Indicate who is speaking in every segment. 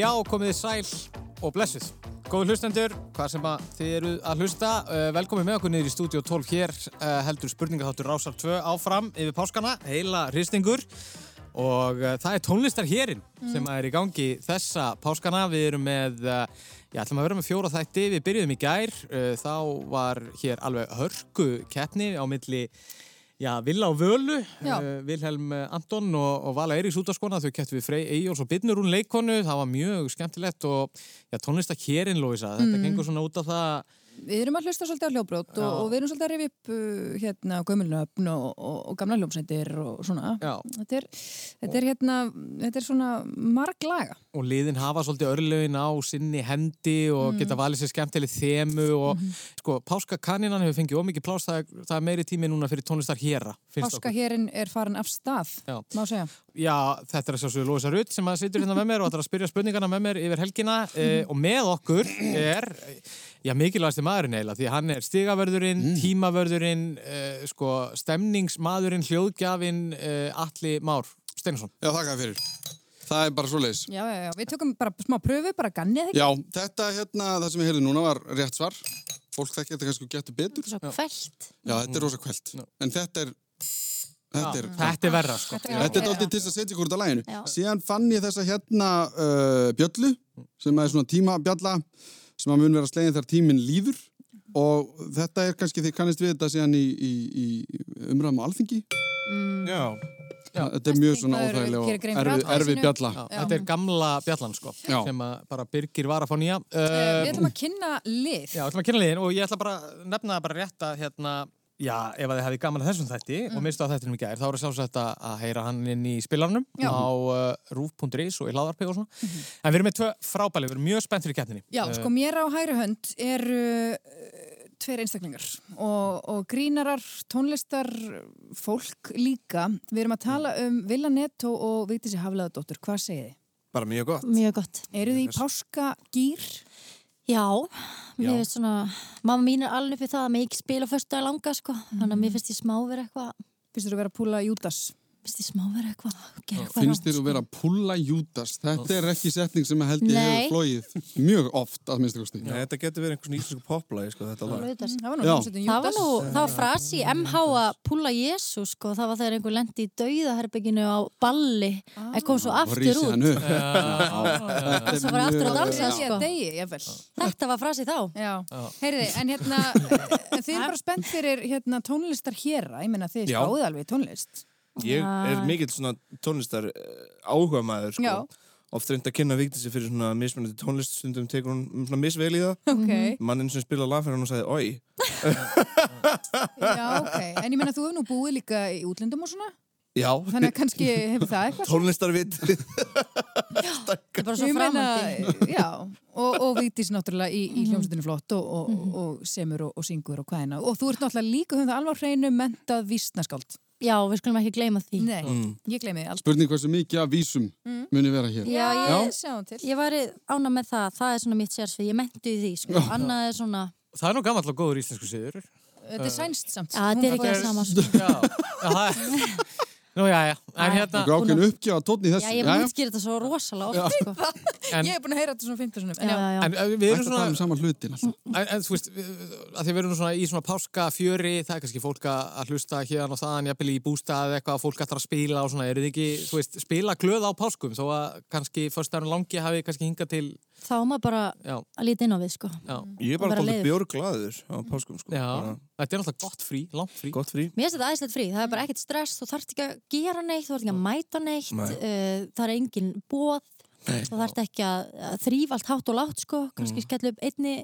Speaker 1: Já, komið þið sæl og blessuð. Góðu hlustendur, hvað sem að þið eru að hlusta. eh, Velkomin með okkur niður í Stúdíó 12 hér. eh, Heldur spurningaháttur Rásar 2 áfram yfir páskana, heila hristingur. Og eh, það er tónlistar hérinn sem að er í gangi þessa páskana. Við erum með, eh, já, ætlum að vera með fjóra þætti. Við byrjuðum í gær. eh, Þá var hér alveg hörku keppni á milli Já, Villa og Völu,
Speaker 2: Já.
Speaker 1: uh, Vilhelm eh, Anton og, og Vala Eiríks útaskona, þau kettu við Frey Eyjóls og Byrnurún leikonu, það var mjög skemmtilegt og já, tónlistar hérinn, Lóisa, þetta
Speaker 2: Mm.
Speaker 1: gengur svona út af það,
Speaker 2: Við erum að hlusta svolítið á hljóbrót
Speaker 1: Já.
Speaker 2: og, og við erum svolítið að rifja upp uh, hérna gömulnöfn og, og, og gamla hljómsættir og svona.
Speaker 1: já,
Speaker 2: Þetta er, þetta er hérna, þetta er svona marg laga.
Speaker 1: og liðin hafa svolítið örlögin á sinni hendi
Speaker 2: Mm.
Speaker 1: og geta valið sér skemmtileg þemu og
Speaker 2: Mhm.
Speaker 1: sko, Páska Kaninan hefur fengið ómikið plás, það, er- það er meiri tími núna fyrir tónlistar hérra, finnst
Speaker 2: Páska hérinn er farin af stað,
Speaker 1: Já.
Speaker 2: má segja.
Speaker 1: Já, þetta er að sjálfsögðu Lóisa Rutt sem að situr hérna með mér og ætlar að spyrja spurningana með mér yfir helgina eh,
Speaker 3: Mhm.
Speaker 1: og með okkur er, já, mikilvægasti maðurinn eiginlega því hann er stigavörðurinn,
Speaker 3: Mm.
Speaker 1: tímavörðurinn, eh, sko, stemningsmaðurinn, hljóðgjafinn, eh, Atli Már Steinsson.
Speaker 3: Já, þakka þér fyrir. Það er bara svo leiðis.
Speaker 2: Já, já, já, við tökum bara smá pröfu, bara gannið ekki.
Speaker 3: Já, þetta hérna, það sem ég heyrði núna var rétt svar. Fólk þekkja þetta kannski og getur betur.
Speaker 4: Svo kvælt.
Speaker 3: Já, þetta er rosa kveld. En þetta er, þetta er,
Speaker 1: Þetta er verra, sko.
Speaker 2: Þetta er-
Speaker 3: þetta er dálítið til þess að setja hvort að læginu.
Speaker 4: Já.
Speaker 3: Síðan fann ég þessa hérna uh, bjöllu, sem er svona tímabjalla, sem að mun vera slegin þar tíminn líður. Og þetta er kannski, þið kannist við þetta síðan í, í, í umræðum á alþingi.
Speaker 1: Já.
Speaker 3: Þetta er mjög svona
Speaker 2: Þingmaður vill
Speaker 3: óþægilega
Speaker 2: gera grein
Speaker 3: og
Speaker 2: fyrir
Speaker 3: erfi,
Speaker 2: atkvæði
Speaker 3: erfi
Speaker 2: sínu.
Speaker 3: bjalla.
Speaker 1: Já,
Speaker 2: Já.
Speaker 1: þetta er gamla bjallan, sko,
Speaker 3: Já.
Speaker 1: sem að bara Birgir var að fá nýja.
Speaker 2: Eh,
Speaker 1: Uh,
Speaker 2: Við ætlum að kynna lið.
Speaker 1: já, ætlum að kynna liðin og ég ætla bara að nefna það bara rétt að hérna, já, ef að þið hefði gaman að þessum þætti
Speaker 2: Mm.
Speaker 1: og mistu að þættinum í gær, þá eru sjálfsagt að, að heyra hann inn í spilarnum
Speaker 2: Já. Mhm.
Speaker 1: á uh, rúf.is og í laðarpi og svona. En við erum með tvö frábæli, við erum mjög spennt fyrir keppninni. Eh,
Speaker 2: Já, sko, mér á hægri hönd eru uh, tveir einstaklingar og, og grínarar, tónlistar, fólk líka. Við erum að tala um Villa Netto og Vigdísi Haflaðadóttur. Hvað segið þið?
Speaker 5: Bara mjög gott.
Speaker 4: Mjög gott.
Speaker 2: Eru þið í páskagýr?
Speaker 4: Já,
Speaker 1: Já.
Speaker 4: mér finnst svona, mamma mín er alveg fyrir það að mér ekki spila fyrstu að langa, sko. Þannig að mér finnst ég smá vera eitthvað,
Speaker 2: Fyrst þú að vera að púla Júdas?
Speaker 4: finnst ég smá vera eitthvað, gera eitthvað
Speaker 3: finnst
Speaker 4: rangt,
Speaker 3: þér að vera að pulla Júdas þetta er ekki setning sem að held ég
Speaker 4: Nei.
Speaker 3: hefur flóið mjög oft að minnstu kosti
Speaker 5: Nei, þetta getur verið einhvers íslensku poplægi, sko, þetta lag.
Speaker 4: sko. Rauðar.
Speaker 2: Það var nú
Speaker 3: Já.
Speaker 2: hljómsveitin
Speaker 4: Það var
Speaker 2: Júdas.
Speaker 4: nú, það var frasi í MH að púla Jésús, sko, það var þegar einhver lendi í dauðaherbygginu á balli,
Speaker 2: Ah.
Speaker 4: en kom svo
Speaker 3: og
Speaker 4: aftur
Speaker 3: rísi
Speaker 4: út.
Speaker 3: hann upp þetta
Speaker 4: Svo var aftur að dansa,
Speaker 2: Það
Speaker 4: sko.
Speaker 2: sé að degi, jafnvel.
Speaker 4: Þetta var frasi þá.
Speaker 2: Já. Heyrði, en hérna, en þið eru bara spennt fyrir hérna, tónlistar hérra. Ég meina, þið
Speaker 5: Já.
Speaker 2: spáðu alveg í tónlist.
Speaker 5: Ég er mikill svona tónlistar áhuga maður, sko.
Speaker 2: Já.
Speaker 5: Oft reynd að kynna Vigdísi fyrir svona mismunandi tónlist, stundum tekur hún svona misvel í það.
Speaker 2: Ok.
Speaker 5: Mannin sem spilaði lag fyrir hann og sagði, oi,
Speaker 2: Já, ok. En ég meina, þú hefur nú búið líka í útlöndum og svona?
Speaker 5: já,
Speaker 2: Þannig að kannski hefur það eitthvað
Speaker 5: tónlistarvit.
Speaker 4: Þetta er bara svo
Speaker 2: Ég
Speaker 4: framandi. Mhm.
Speaker 2: meina, Já, og, og Vigdís náttúrulega í, í hljómsveitinu flott og, og, og semur og, og syngur og hvaðina og þú ert náttúrulega líka höfum það alveg á hreinu mentað vísnaskáld.
Speaker 4: Já, við skulum ekki gleyma því.
Speaker 2: Nei, ég gleymi þið alls.
Speaker 3: spurning hversu mikið af vísum
Speaker 4: Mm.
Speaker 3: muni vera hér
Speaker 4: Já, ég,
Speaker 2: Já, sjáum til.
Speaker 4: ég var ána með það, það er svona mitt sérsvið, ég menntu í því, sko. Annað er svona,
Speaker 1: Það er nú gammal og góður íslensku siður.
Speaker 2: Þetta er sænst samt.
Speaker 4: Já, þetta er ekki það sama, sko.
Speaker 1: Já, já, það er... Nú, já, já, en hérna...
Speaker 3: og ákveðin uppgjöf að tónni í
Speaker 4: Já,
Speaker 3: þessu
Speaker 4: ég
Speaker 3: Jæja.
Speaker 4: mannskýr þetta svo rosalega oft, sko.
Speaker 1: En-
Speaker 2: Ég hef búin að heyra þetta svona 15 sinum. en
Speaker 4: Já,
Speaker 2: já.
Speaker 4: já, já.
Speaker 1: En uh, við
Speaker 3: Ætti
Speaker 1: erum
Speaker 3: að tala um
Speaker 1: svona,
Speaker 3: saman hlutin
Speaker 4: Mm.
Speaker 3: alltaf.
Speaker 1: en, en þú veist, við- að því við erum svona í svona páskafjöri, það er kannski fólk að að hlusta hérna og þaðan, jafnvel í bústað eða eitthvað, fólk ætlar að spila og svona, eru þið ekki, þú veist, spila glöð á páskum, þó að kannski förstæðan langi hafi kannski hingað til,
Speaker 4: þá er maður bara
Speaker 1: já,
Speaker 4: að líta inn á við sko.
Speaker 1: já,
Speaker 6: Mm.
Speaker 5: Ég er bara
Speaker 4: Bara
Speaker 5: tóttið
Speaker 4: leiður.
Speaker 5: björglaður á páskum, sko.
Speaker 1: já,
Speaker 5: Bara
Speaker 1: þetta er náttúrulega gott frí, langt frí.
Speaker 5: Gott frí.
Speaker 4: Mér finnst þetta aðeinslegt frí, það er bara ekkert stress, þú þarft ekki að gera neitt, þú þarft ekki að mæta neitt,
Speaker 5: Nei.
Speaker 4: uh, það er engin bóð, þú þarft ekki að að þrífa allt hátt og látt sko,
Speaker 1: Mm.
Speaker 4: kannski skella upp einni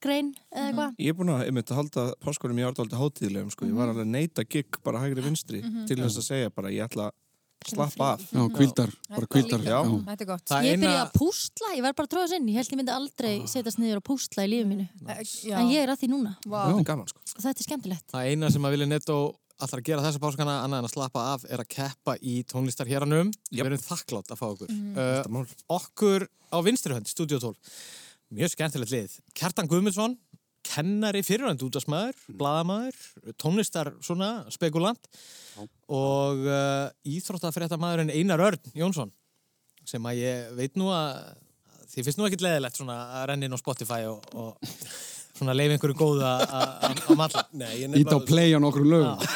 Speaker 4: grein
Speaker 1: Mhm.
Speaker 4: eða eitthvað.
Speaker 5: Ég er búin að, einmitt, halda páskunum í ártaldi hátíðlegum, sko.
Speaker 4: Mhm.
Speaker 5: Ég var alveg að neita gig bara hægri vinstri til þess að segja bara, ég ætla að slappa af.
Speaker 3: já, kvíldar, bara kvíldar
Speaker 5: Já.
Speaker 2: Þetta er gott.
Speaker 1: Það
Speaker 4: Ég
Speaker 1: eina- Ah.
Speaker 4: byrjaði að púsla, ég verð bara að tróða sinn, ég held ég myndi aldrei setjast niður og púsla í lífið mínu,
Speaker 2: Já.
Speaker 4: en ég er að því núna
Speaker 2: Vá.
Speaker 5: Þetta er gaman, sko.
Speaker 4: og þetta er skemmtilegt.
Speaker 1: Það eina sem að vilja netto alltaf að gera þessa páskana, annað en að slappa af, er að keppa í tónlistarheranum. Við erum þakklátt að fá okkur.
Speaker 5: Þetta mál.
Speaker 1: Uh, okkur á vinstrihönd, Studio 12. Mjög skemmtilegt lið. Kjartan Guðmundsson, kennari fyrirhönd útasmaður,
Speaker 5: Mm.
Speaker 1: bladamaður, tónlistar svona, spekulant og eh, uh, íþróttafréttamaðurinn Einar Örn Jónsson sem að ég veit nú að því finnst nú ekkit leðilegt svona að renna inn á Spotify og, og svona leif einhverju góða að matla
Speaker 5: Nei, ég
Speaker 3: Ít
Speaker 5: nefnilega...
Speaker 3: á play á nokkrum lögum.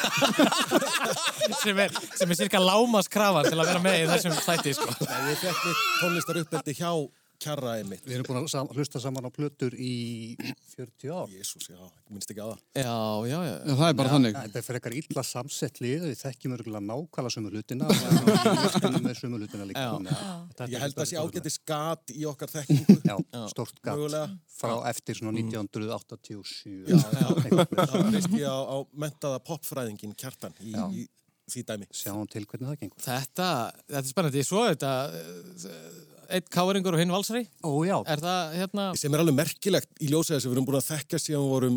Speaker 1: sem er, sem er cirka lámaskrafan til að vera með í þessum þætti sko.
Speaker 5: Nei, ég fekk mitt tónlistar uppeldi hjá kjarraði mitt.
Speaker 7: Við erum búin að sam- hlusta saman á plötur í 40 ár.
Speaker 5: Jésús, já, ég minnst ekki að það.
Speaker 1: Já, já, já
Speaker 3: Já, það er bara þannig.
Speaker 7: Þetta er fyrir eitthvað illa samsett lið, við þekkjum örgulega nákvæmlega sömu hlutina og stunum með sömu hlutina líka.
Speaker 1: Já.
Speaker 7: Þannig að þetta
Speaker 5: Ég held að það sé
Speaker 7: er-
Speaker 5: ágæti skat í okkar þekkingu.
Speaker 7: Já, stórt gatt
Speaker 5: Mögulega.
Speaker 7: frá eftir svona 1987. Mm. Já,
Speaker 5: Það veist ég á, á mentaða popfræðingin kjartan í, í því dæmi.
Speaker 7: Sjáum til hvernig það gengur.
Speaker 1: Þetta, þetta er spennandi, svo er þetta eh, einn káringur og hinn valsari
Speaker 7: Ó já,
Speaker 1: er það hérna
Speaker 5: Sem er alveg merkilegt í ljósæði sem við erum búin að þekka síðan við vorum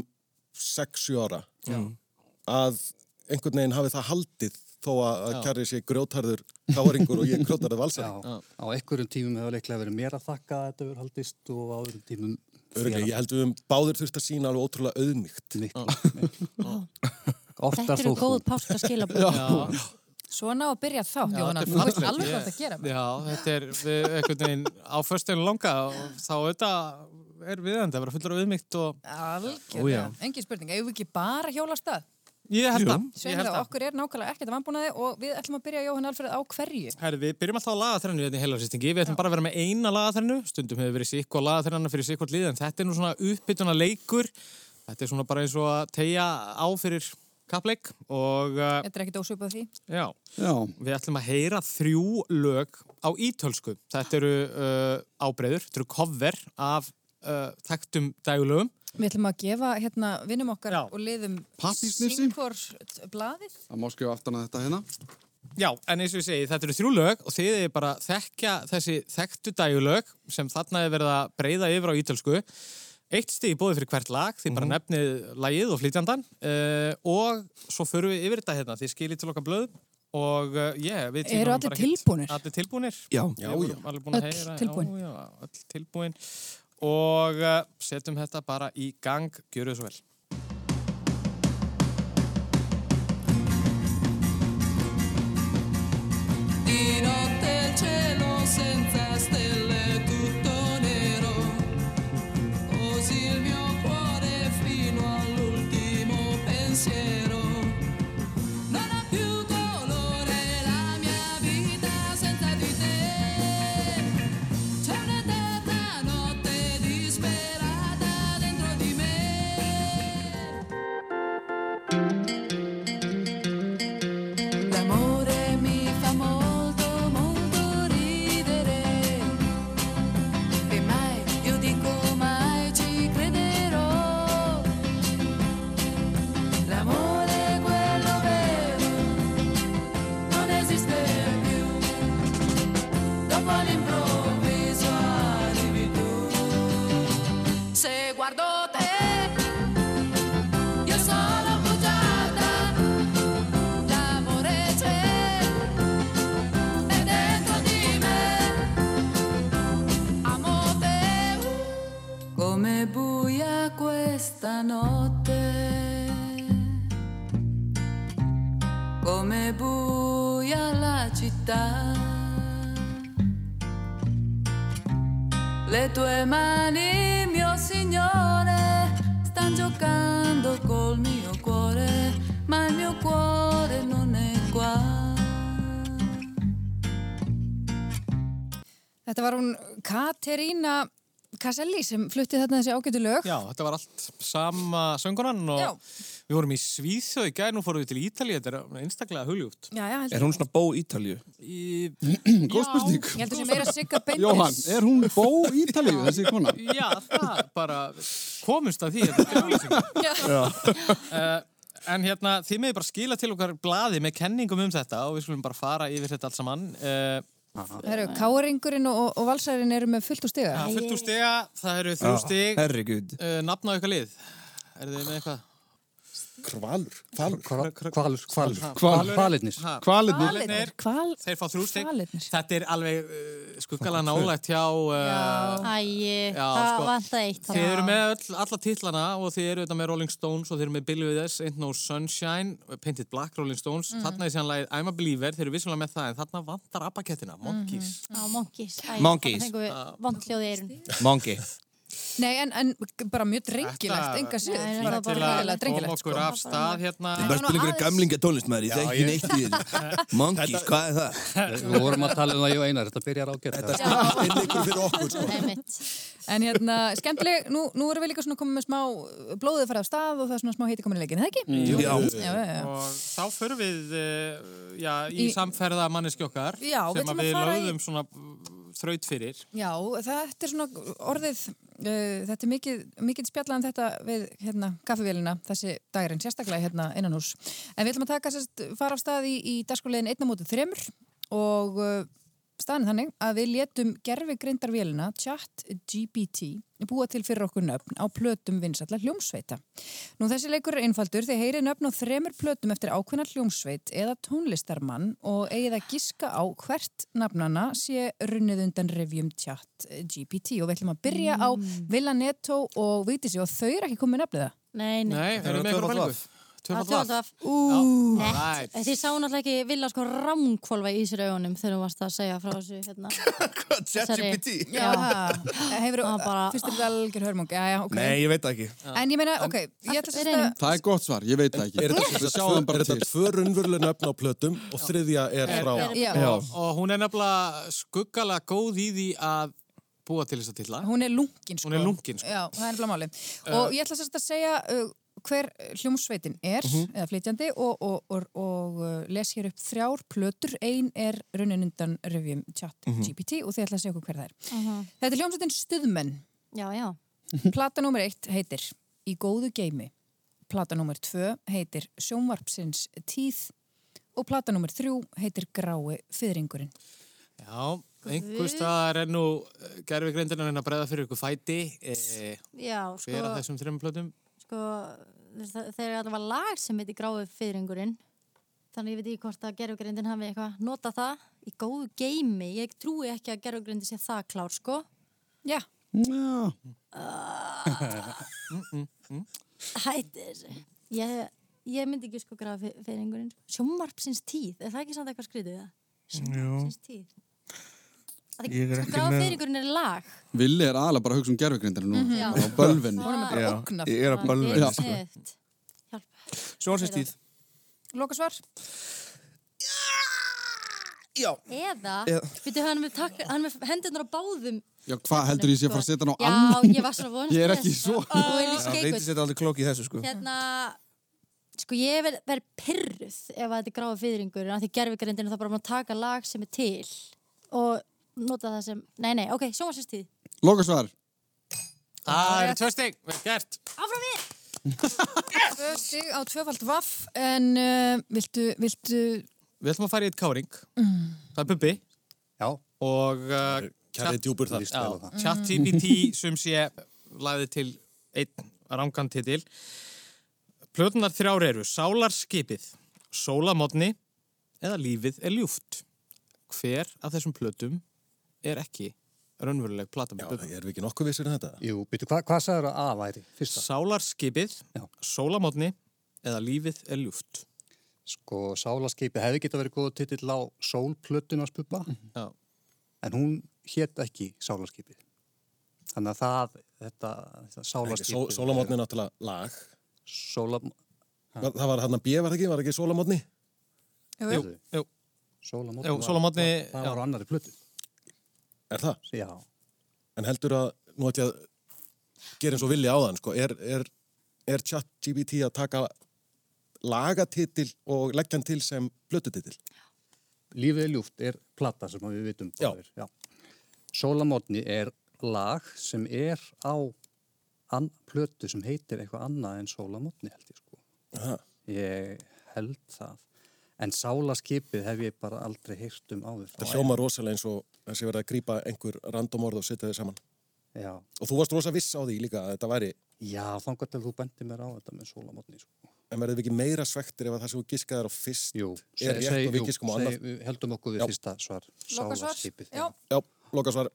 Speaker 5: 6-7 ára. Já. Að einhvern veginn hafi það haldið þó að, að
Speaker 1: Já.
Speaker 5: kjarri sé grjótarður káringur og ég grjótarður
Speaker 7: já,
Speaker 5: valsari.
Speaker 7: á einhverjum tímum hefur leiklega verið mér að þakka að þetta verið haldist og á öðrum tímum
Speaker 5: Örgulega, ég held við um báðir þurft að sína alveg ótrúlega auðmygt.
Speaker 7: miklu.
Speaker 4: Þetta
Speaker 7: Oftar
Speaker 4: eru
Speaker 7: þó þú.
Speaker 4: góð páskaskilabóð.
Speaker 1: Já,
Speaker 2: Svona og byrja þá,
Speaker 1: já,
Speaker 2: Jóhanna.
Speaker 1: þetta er
Speaker 2: Þú veist
Speaker 1: fallegt,
Speaker 2: alveg
Speaker 1: ég-
Speaker 2: hvað það gera. með.
Speaker 1: Já, þetta er við einhvern veginn á försteginu langa og þá þetta er viðandi að vera fullur af viðmygt og
Speaker 2: Algjörlega. Engin spurning. Eigum við ekki bara að hjóla af stað?
Speaker 1: ég held að, ég
Speaker 2: Sveinu
Speaker 1: held
Speaker 2: það,
Speaker 1: að.
Speaker 2: okkur er nákvæmlega ekkert að vannbúnaði og við ætlum að byrja Jóhann Alfred á hverju.
Speaker 1: Herri, við byrjum alltaf á lagatrennu hérna í heilarýstingi, við ætlum bara að vera með eina lagatrennu, stundum hefur verið sikko lagatrennu fyrir sikkort lið, en þetta er nú svona uppbytuna leikur, þetta er svona bara eins og að tegja á fyrir kappleik og uh,
Speaker 2: Þetta er ekkert ósvipað því.
Speaker 1: já,
Speaker 3: Já,
Speaker 1: við ætlum að heyra þrjú lög á ítölsku, þetta eru uh, ábreyður, þetta eru cover af uh, þekktum dagulögum,
Speaker 2: Við ætlum að gefa hérna vinnum okkar
Speaker 1: Já.
Speaker 2: og liðum
Speaker 3: Pappírsnifsi?
Speaker 2: Singkor blaðið.
Speaker 3: það má skrifa aftan að þetta hérna.
Speaker 1: Já, en eins og ég segi, þetta eru þrjú lög og þið er bara að þekkja þessi þekktu dægulög sem þarna er verið að breyða yfir á ítölsku. Eitt stíð bóði fyrir hvert lag, þið bara nefnið lagið og flytjandan uh, og svo förum við yfir þetta hérna, þið skiljið til okkar blöð og uh, yeah, við tímum
Speaker 2: Eru allir
Speaker 1: bara ekkert-
Speaker 2: tilbúnir?
Speaker 1: Allir tilbúnir?
Speaker 5: Já,
Speaker 1: Já,
Speaker 5: já,
Speaker 1: já.
Speaker 5: já.
Speaker 1: Allir búin að
Speaker 2: Öll
Speaker 1: heyra.
Speaker 2: tilbúin.
Speaker 1: Já, já, öll tilbúin. Og uh, setjum þetta bara í gang. Gjöru þið svo vel.
Speaker 8: Di notte il cielo senza stelle tutto nero, così il mio cuore fino all'ultimo pensiero. Non ha più dolore la mia vita senza di te. C'è un'eterna notte disperata dentro di me. L'amore mi fa molto, molto ridere E mai, io dico mai ci crederò L'amore, quello vero, non esiste più Dopo all'improvviso arrivi tu Se guardo te, io sono bugiarda L'amore c'è, è dentro di me, amo te Come buia questa notte, come buia la città Le tue mani, mio Signore, stanno giocando col mio cuore, ma il mio cuore non è qua.
Speaker 2: Þetta var hún Katerína Caselli sem flutti þarna þessi ágætu lög.
Speaker 1: Já, þetta var allt sama söngurann og
Speaker 2: Já.
Speaker 1: við vorum í Svíþjóð í gæð, nú fórum við til Ítalíu, þetta er einstaklega huljúft.
Speaker 2: Já, já, heldur-
Speaker 5: Er hún svona bó Ítalju?
Speaker 1: Í...
Speaker 3: Góð spurning.
Speaker 2: ég heldur sem meira Sigga Bendis.
Speaker 3: Jóhann, er hún bó Ítalíu, þessi kona?
Speaker 1: Já, það bara komumst að því að þetta er auglýsing.
Speaker 2: Já.
Speaker 1: Eh, En hérna, þið meði bara skila til okkar blaði með kenningum um þetta og við skulum bara fara yfir þetta allt saman. Uh,
Speaker 2: Herru, Káringurinn og, og Valsarinn eru með fullt úr stiga.
Speaker 1: það er fullt úr stiga, það eru þrjú stig. Eh,
Speaker 5: Herregud.
Speaker 1: Uh, nafna á ykkar lið. Er þið með eitthvað?
Speaker 5: Kvalur, kvalur.
Speaker 7: Hval- Hvalur, hvalur,
Speaker 3: Hvalur.
Speaker 7: hvalur, hvalirnir.
Speaker 1: Ha,
Speaker 3: Kvalirnir.
Speaker 1: Hvalirnir.
Speaker 2: Hval,
Speaker 1: Þeir fá þrjú stygg.
Speaker 2: Hvalirnir.
Speaker 1: Þetta er alveg uh, skuggalega nálægt hjá... Uh,
Speaker 2: Já.
Speaker 4: Æi,
Speaker 1: Já,
Speaker 4: það
Speaker 1: sko.
Speaker 4: sko. vantaði eitt
Speaker 1: Þið
Speaker 4: þarna.
Speaker 1: eru með öll, alla titlana og þið eru auðvitað með Rolling Stones og þið eru með Billy With Us, Ain't No Sunshine, Painted Black, Rolling Stones.
Speaker 2: Mm.
Speaker 1: Þarna er síðan lagið I'm a Believer, þið eru vissulega með það en þarna vantar abakettina,
Speaker 2: Mhm.
Speaker 1: Monkeys.
Speaker 4: Á, monkeys. Æ,
Speaker 6: Monkeys.
Speaker 4: Það fengum við vond hljóði eirun.
Speaker 6: Mongi
Speaker 2: nei, en, en bara mjög drengilegt,
Speaker 1: Þetta-
Speaker 2: enga síður.
Speaker 4: Nei, nei, það
Speaker 2: bara
Speaker 4: var
Speaker 1: Til að
Speaker 2: ræðilega
Speaker 1: koma
Speaker 2: drengilegt,
Speaker 1: okkur
Speaker 2: sko.
Speaker 1: af stað hérna.
Speaker 6: Ég bara spila ykkur gamlinga tónlistmaður, ég þekki neitt í þessu Monkeys, hvað er það?
Speaker 7: Við vorum að tala um það, ég og Einar, þetta byrjar ágætt.
Speaker 5: Þetta er ykkur fyrir okkur, sko.
Speaker 4: Einmitt.
Speaker 2: En hérna, skemmtileg, nú, nú erum við líka svona komið með smá blóðið farið af stað og það er svona smá heiti komin í leikin, eða ekki?
Speaker 6: Jú. Já.
Speaker 2: Já, já, já.
Speaker 1: Og þá förum við uh, já, í,
Speaker 2: Í-
Speaker 1: samferða manneski okkar
Speaker 2: Já,
Speaker 1: sem
Speaker 2: við ætlum
Speaker 1: að
Speaker 2: að
Speaker 1: við
Speaker 2: fara í-
Speaker 1: lögðum svona uh, þraut fyrir.
Speaker 2: Já, þetta er svona orðið, uh, þetta er mikið, mikið spjallað um þetta við hérna, kaffevélina þessi dagurinn, sérstaklega hérna innan hús. En við ætlum að taka sérst fara af stað í, í dagskóliðin einna mótið þremur og uh, staðan er þannig að við létum gerfi greindarvélina chat GBT búa til fyrir okkur nöfn á plötum vinsalla hljómsveita. Nú þessi leikur er einfaldur þið heyrið nöfn á þremur plötum eftir ákveðna hljómsveit eða tónlistarmann og eigið að giska á hvert nafnana sé runnið undan revjum chat eh, GPT og við ætlum að byrja á
Speaker 4: Mm.
Speaker 2: Villa Netto og Vítiðsi og þau eru ekki komið nafnið það.
Speaker 4: Nei, nei. Ah,
Speaker 1: Nei,
Speaker 6: Það
Speaker 1: erum við
Speaker 6: eru
Speaker 1: eitthvað
Speaker 6: tvöfalt
Speaker 1: bælingu?
Speaker 4: Það
Speaker 1: Tvöfald laf.
Speaker 4: af.
Speaker 1: Right.
Speaker 4: Þið sáu náttúrulega ekki vilja sko rámkvolfa í sér augunum þegar þú varst að segja frá þessu hérna.
Speaker 6: Hvað, ChatGPT?
Speaker 4: Já.
Speaker 2: Hefur,
Speaker 4: Það bara-
Speaker 2: Fyrst er þetta algjör hörmung. Já, já, ok.
Speaker 6: Nei, ég veit það ekki
Speaker 2: En ég meina, ok, ég ætla
Speaker 4: Við
Speaker 2: sérst að...
Speaker 4: reynum.
Speaker 3: Það er gott svar, ég veit það
Speaker 5: Er
Speaker 3: ekki.
Speaker 5: þetta,
Speaker 3: Við sjáum bara
Speaker 5: er þetta
Speaker 3: til.
Speaker 5: tvö raunveruleg nöfn á plötum og þriðja er frá
Speaker 2: Já,
Speaker 1: Og, og hún er nefnilega skuggalega góð í því að búa til þess að tilla.
Speaker 2: hún er lungin sko.
Speaker 1: Hún er lungin, sko. Eh.
Speaker 2: Já, það er nefnilega máli. og ég ætla sérst að segja uh, hver hljómsveitin er,
Speaker 1: Mhm.
Speaker 2: eða flytjandi, og, og, og, og uh, les hér upp þrjár plötur. Ein er runnin undan revjum
Speaker 1: Mhm.
Speaker 2: chat GPT og þið ætla að segja okkur hver það er. Þetta er hljómsveitin Stuðmenn.
Speaker 4: Já, já.
Speaker 1: Mhm.
Speaker 2: Plata nummer eitt heitir Í góðu geimi. Plata nummer tvö heitir Sjónvarpsins tíð og plata nummer þrjú heitir Grái fyrringurinn.
Speaker 1: Já, einhvers staðar er nú gerfi greindinu að breyða fyrir ykkur fæti eh,
Speaker 4: Já,
Speaker 1: hver af
Speaker 4: sko,
Speaker 1: þessum þreim plötum.
Speaker 4: sko þe- þegar þetta var lag sem heiti Gráu fyrringurinn þannig ég veit ekki hvort að gerfugrindin hafi eitthvað nota það í góðu geimi ég trúi ekki að gerfugrindin sé það klár sko
Speaker 2: Já,
Speaker 3: Já.
Speaker 4: Hætti þessu ég, ég myndi ekki sko Gráu fyrringurinn sjómarpsins tíð, er það ekki samt eitthvað skrítið það? Sjómarpsins tíð Af því,
Speaker 6: Ég er
Speaker 4: sko,
Speaker 6: ekki
Speaker 4: Gráu
Speaker 6: með-
Speaker 4: fyrringurinn er lag
Speaker 3: Villi er aðalega bara að hugsa um gerfugrindina nú.
Speaker 4: Mhm.
Speaker 3: Bara á bölvinni.
Speaker 2: hún er bara ógnað.
Speaker 6: Ég er að
Speaker 4: Það
Speaker 6: bölva
Speaker 4: er sniðugt. Hjálp.
Speaker 6: Sjónsveitstíð
Speaker 2: Loka svar?
Speaker 6: Já
Speaker 4: eða,
Speaker 6: Eða-
Speaker 4: byrju hann er með, tak- hann er með hendunar á báðum sko.
Speaker 3: Já, hvað heldur ég sé að fara að setja hann á annan?
Speaker 4: Já, ég var svona vonast
Speaker 3: Ég er
Speaker 4: til
Speaker 3: ekki
Speaker 4: þess,
Speaker 3: svo-
Speaker 4: sko. Þú er
Speaker 6: Það veitir
Speaker 4: líka
Speaker 6: sér aldrei klók í þessu sko
Speaker 4: Hérna, sko ég verð ver pyrruð ef að þetta er gráða fyrringur en að því gerfigrindin er það bara búin að taka lag sem er til og nota það sem Nei, nei, ok, sjónvarsistíð
Speaker 3: Loka svar.
Speaker 1: Ah, Það eru tvö stygg, vel gert.
Speaker 4: Áfram við!
Speaker 2: Tvö stig á tvöfald vaff en uh, viltu, viltu
Speaker 1: Við ætlum að fara í eitt káring. Það er Bubbi
Speaker 7: Já,
Speaker 1: og uh,
Speaker 5: Kjarri djúpur þar.
Speaker 7: líst vel á það.
Speaker 1: chat TBT sem sé lagði til einn rangan titil. Plötunar þrjár eru Sálarskipið, Sólamotni eða Lífið er ljúft. Hver af þessum plötum er ekki raunveruleg plata
Speaker 5: Já,
Speaker 1: með Bubba?
Speaker 5: erum við ekki nokkuð vissir um þetta?
Speaker 7: Jú, býtu, hva, hvað sagður að A væri? Fyrsta.
Speaker 1: Sálarskipið,
Speaker 7: Já.
Speaker 1: Sólamotni eða Lífið er ljúft.
Speaker 7: Sko, sálaskeipi hefði geta verið góð titill á sólplötun á spubba,
Speaker 1: Já.
Speaker 7: en hún hétt ekki sálaskeipi. Þannig að það, þetta, þetta
Speaker 5: Só,
Speaker 7: sálaskeipi.
Speaker 5: Sólamotni er náttúrulega lag.
Speaker 7: Sóla,
Speaker 5: Var, það var hann að bjöð, var það ekki? Var það ekki Sólamotni?
Speaker 1: Jú,
Speaker 7: Heyrðu.
Speaker 1: jú.
Speaker 7: sólamotni.
Speaker 1: Jú,
Speaker 7: var-
Speaker 1: Sólamotni,
Speaker 7: Það, það
Speaker 1: já.
Speaker 7: var á annari plötu.
Speaker 5: Er það?
Speaker 7: Já.
Speaker 5: En heldur að, nú ætla ég að gera eins og vilja á þann, sko. Er, er, er chat GBT að taka lagatitil og leggja hann til sem blötutitil?
Speaker 7: Lífið er ljúft er plata sem við vitum.
Speaker 5: Já.
Speaker 7: báðir, já. Sólamotni er lag sem er á ann, plötu sem heitir eitthvað annað en sólamotni held ég sko.
Speaker 5: Aha.
Speaker 7: Ég held það. En sálaskipið hef ég bara aldrei heyrt um áður.
Speaker 5: Það hljóma rosalega eins og þessi verið að grípa einhver random orð og setja þau saman.
Speaker 7: Já,
Speaker 5: Og þú varst rosa viss á því líka að þetta væri
Speaker 7: já þangar til þú bendi mér á þetta með sólamotni sko.
Speaker 5: en verðum við ekki meira svektir ef að það sem þú giskaðar á fyrst
Speaker 7: Jú,
Speaker 5: er rétt og við
Speaker 7: jú,
Speaker 5: giskum á
Speaker 7: seg-
Speaker 5: annað
Speaker 7: við sko, heldum okkur við
Speaker 5: Já.
Speaker 7: fyrsta svar
Speaker 2: Loka svar?
Speaker 7: sálarskipið.
Speaker 2: Já.
Speaker 5: Já, loka svar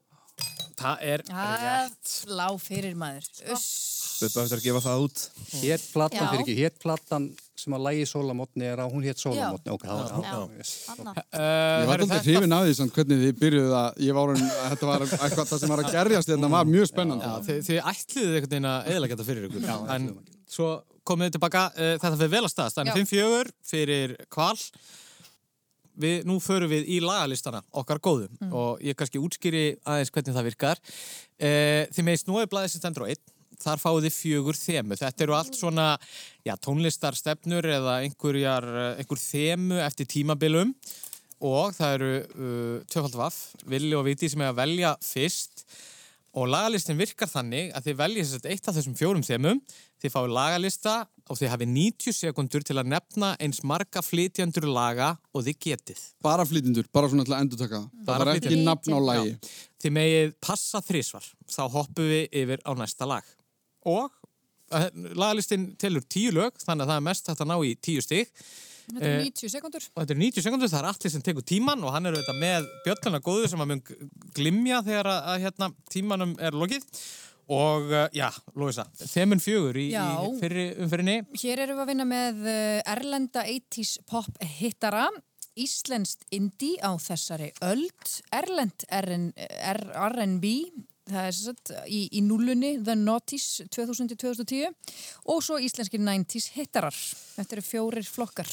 Speaker 1: Það er eh,
Speaker 2: Það lá fyrir maður. Uss.
Speaker 6: Bubba eftir að gefa það út.
Speaker 7: Hér platan
Speaker 4: Já.
Speaker 7: fyrir ekki, hér platan sem að lægi sólamotni er á, hún hér sólamotni, ok, það var
Speaker 4: Já.
Speaker 7: það. Yes.
Speaker 4: Anna.
Speaker 1: Ég
Speaker 3: Ég var alltaf hrifin af því samt hvernig þið byrjuðu að ég var orðin að þetta var eitthvað það sem var að gerjast þetta var mjög spennandi.
Speaker 1: Já, þið, þið ætliðið einhvern veginn að eðalega þetta fyrir ykkur. en svo komið þið tilbaka, uh, þetta fyrir vel að staðast.
Speaker 2: Já.
Speaker 1: Þannig 5-4 fyrir kval. Við, nú förum við í lagalistana, okkar góðum. Og ég kannski útskýri aðeins hvernig það virkar. Uh, þið meðist nú er blaðið sem stendur á einn. Þar fáið þið fjögur þemu. Þetta eru allt svona já, tónlistarstefnur eða einhverjar, eh, einhver þemu eftir tímabilum. Og það eru uh, töfaldvaff, villi og viti sem er að velja fyrst. Og lagalistin virkar þannig að þið veljið sérst eitt af þessum fjórum þemum, þið fáið lagalista og þið hafið 90 sekundur til að nefna eins marga flytjandur laga og þið getið.
Speaker 3: Bara flytindur, bara svona til að endurtaka. það.
Speaker 1: Bara
Speaker 3: Það var ekki
Speaker 1: flytjendur.
Speaker 3: nafn á lagi.
Speaker 1: Þið megið passa þrísvar, þá hoppum við yfir á næsta lag. Og eh, lagalistin telur tíu lög, þannig að það er mest hægt að ná í tíu stig.
Speaker 2: Þetta er 90 sekundur.
Speaker 1: og þetta er 90 sekundur, það er allir sem tekur tíman og hann er auðvitað með bjölluna góðu sem að mun glimja þegar að, að hérna, tímanum er lokið og uh, já, Lóisa, þemun fjögur í,
Speaker 2: Já.
Speaker 1: í fyrri umfyrinni
Speaker 2: Hér erum við að vinna með eh, erlenda 80s pop hittara, íslenskt indie á þessari öld, erlend RN R- R&B, það er satt, í, í nullunni The Naughties 2000-2010 og svo íslenski 90s hittarar. Þetta eru fjórir flokkar.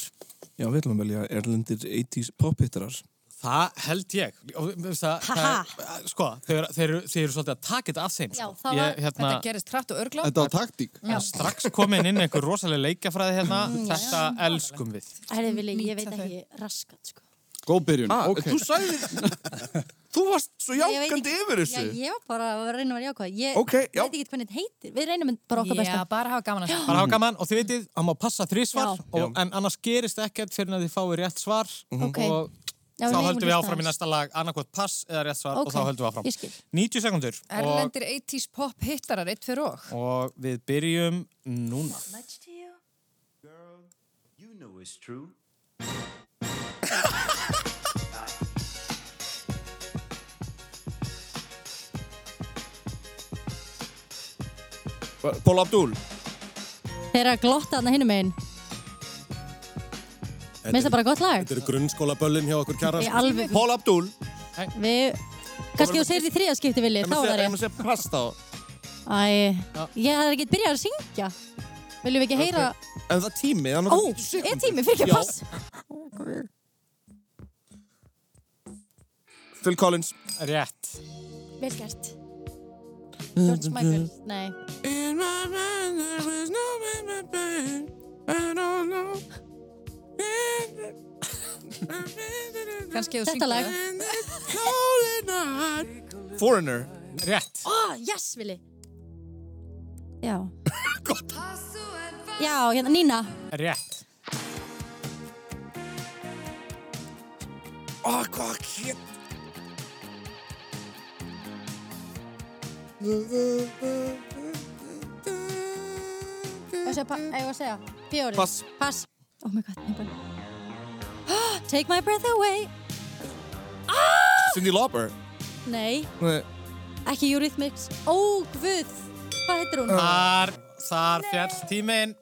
Speaker 6: Já, við ætlum að velja erlendir 80s pophittarar.
Speaker 1: það held ég og, þú veist það, það er, sko, þeir, þeir, eru- þeir eru svolítið að taka þetta af þeim
Speaker 4: Já,
Speaker 1: sko.
Speaker 4: það var-
Speaker 1: ég, hérna,
Speaker 2: Þetta gerist hratt og örglá.
Speaker 3: Þetta var taktík.
Speaker 1: það er strax komin inn einhver rosalega leikjafræði hérna
Speaker 4: Mm,
Speaker 1: þetta elskum við
Speaker 4: Herri, Vili, ég veit
Speaker 2: Nýta
Speaker 4: ekki raskat, sko.
Speaker 3: Góð byrjun. ok.
Speaker 6: Ah, Þú sagði, þú varst svo
Speaker 4: Ég veit
Speaker 6: jákandi
Speaker 4: ekki-
Speaker 6: yfir
Speaker 4: Já,
Speaker 6: þessu.
Speaker 4: ég var bara að reyna að vera jákvæð. Ég
Speaker 6: Ok, já.
Speaker 4: veit ekki hvernig þetta heitir. Við reynum bara okkar
Speaker 2: Já,
Speaker 4: besta.
Speaker 2: bara hafa gaman að það.
Speaker 1: bara hafa gaman og þið veitir að má passa þrísvar
Speaker 4: Já.
Speaker 1: og, en annars gerist ekkert fyrir að þið fáið rétt svar
Speaker 4: Ok.
Speaker 1: og
Speaker 4: Já,
Speaker 1: þá höldum
Speaker 4: við megum
Speaker 1: við
Speaker 4: hlusta
Speaker 1: áfram í
Speaker 4: aðeins.
Speaker 1: næsta lag annarkot pass eða rétt svar
Speaker 4: Ok,
Speaker 1: og þá höldum við áfram
Speaker 4: ég skil.
Speaker 1: 90 sekundur og,
Speaker 2: Erlendir 80s pop hittarar, eitt fyrir og.
Speaker 1: og við byrjum núna
Speaker 9: You know it's true.
Speaker 6: Paul Abdul.
Speaker 4: Þeir eru að glotta þarna hinum einn.
Speaker 5: Þetta
Speaker 4: Meðst það
Speaker 5: er-
Speaker 4: bara gott lag?
Speaker 5: Þetta er grunnskóla hjá okkur kjara
Speaker 4: Í alveg.
Speaker 6: Paul Abdul.
Speaker 4: Við... Kannski þú segir því þriða skipti, Vili. Þá er það
Speaker 6: Ég
Speaker 4: rétt.
Speaker 6: maður segja pass þá.
Speaker 4: Æ, ég hafði ekki byrjað að syngja. Viljum við ekki heyra...
Speaker 6: En það er tími, þannig
Speaker 4: Ó,
Speaker 6: að
Speaker 4: er tími fyrir ekki
Speaker 6: Já.
Speaker 4: að pass?
Speaker 6: Phil Collins.
Speaker 1: rétt
Speaker 4: Vel gert. George Michael, nei.
Speaker 6: In my mind there was no man but pain. I don't know.
Speaker 2: Kannski þú
Speaker 4: Þetta
Speaker 2: syngur
Speaker 4: lag.
Speaker 2: það.
Speaker 6: Foreigner.
Speaker 1: rétt
Speaker 4: Ó, yes, Vili. Já. Já, hérna, Nína.
Speaker 1: rétt
Speaker 6: Ó, hvað hér?
Speaker 4: Ég var að segja, fjóri.
Speaker 6: Pass.
Speaker 4: Pass. Oh my god, ég bara... Take my breath away. Ah!
Speaker 6: Cindy Lauper.
Speaker 4: Nei,
Speaker 6: Nei.
Speaker 4: ekki Eurythmics. Ó, guð. Hvað heitir hún?
Speaker 6: Ah.
Speaker 1: þar, þar fjall tímin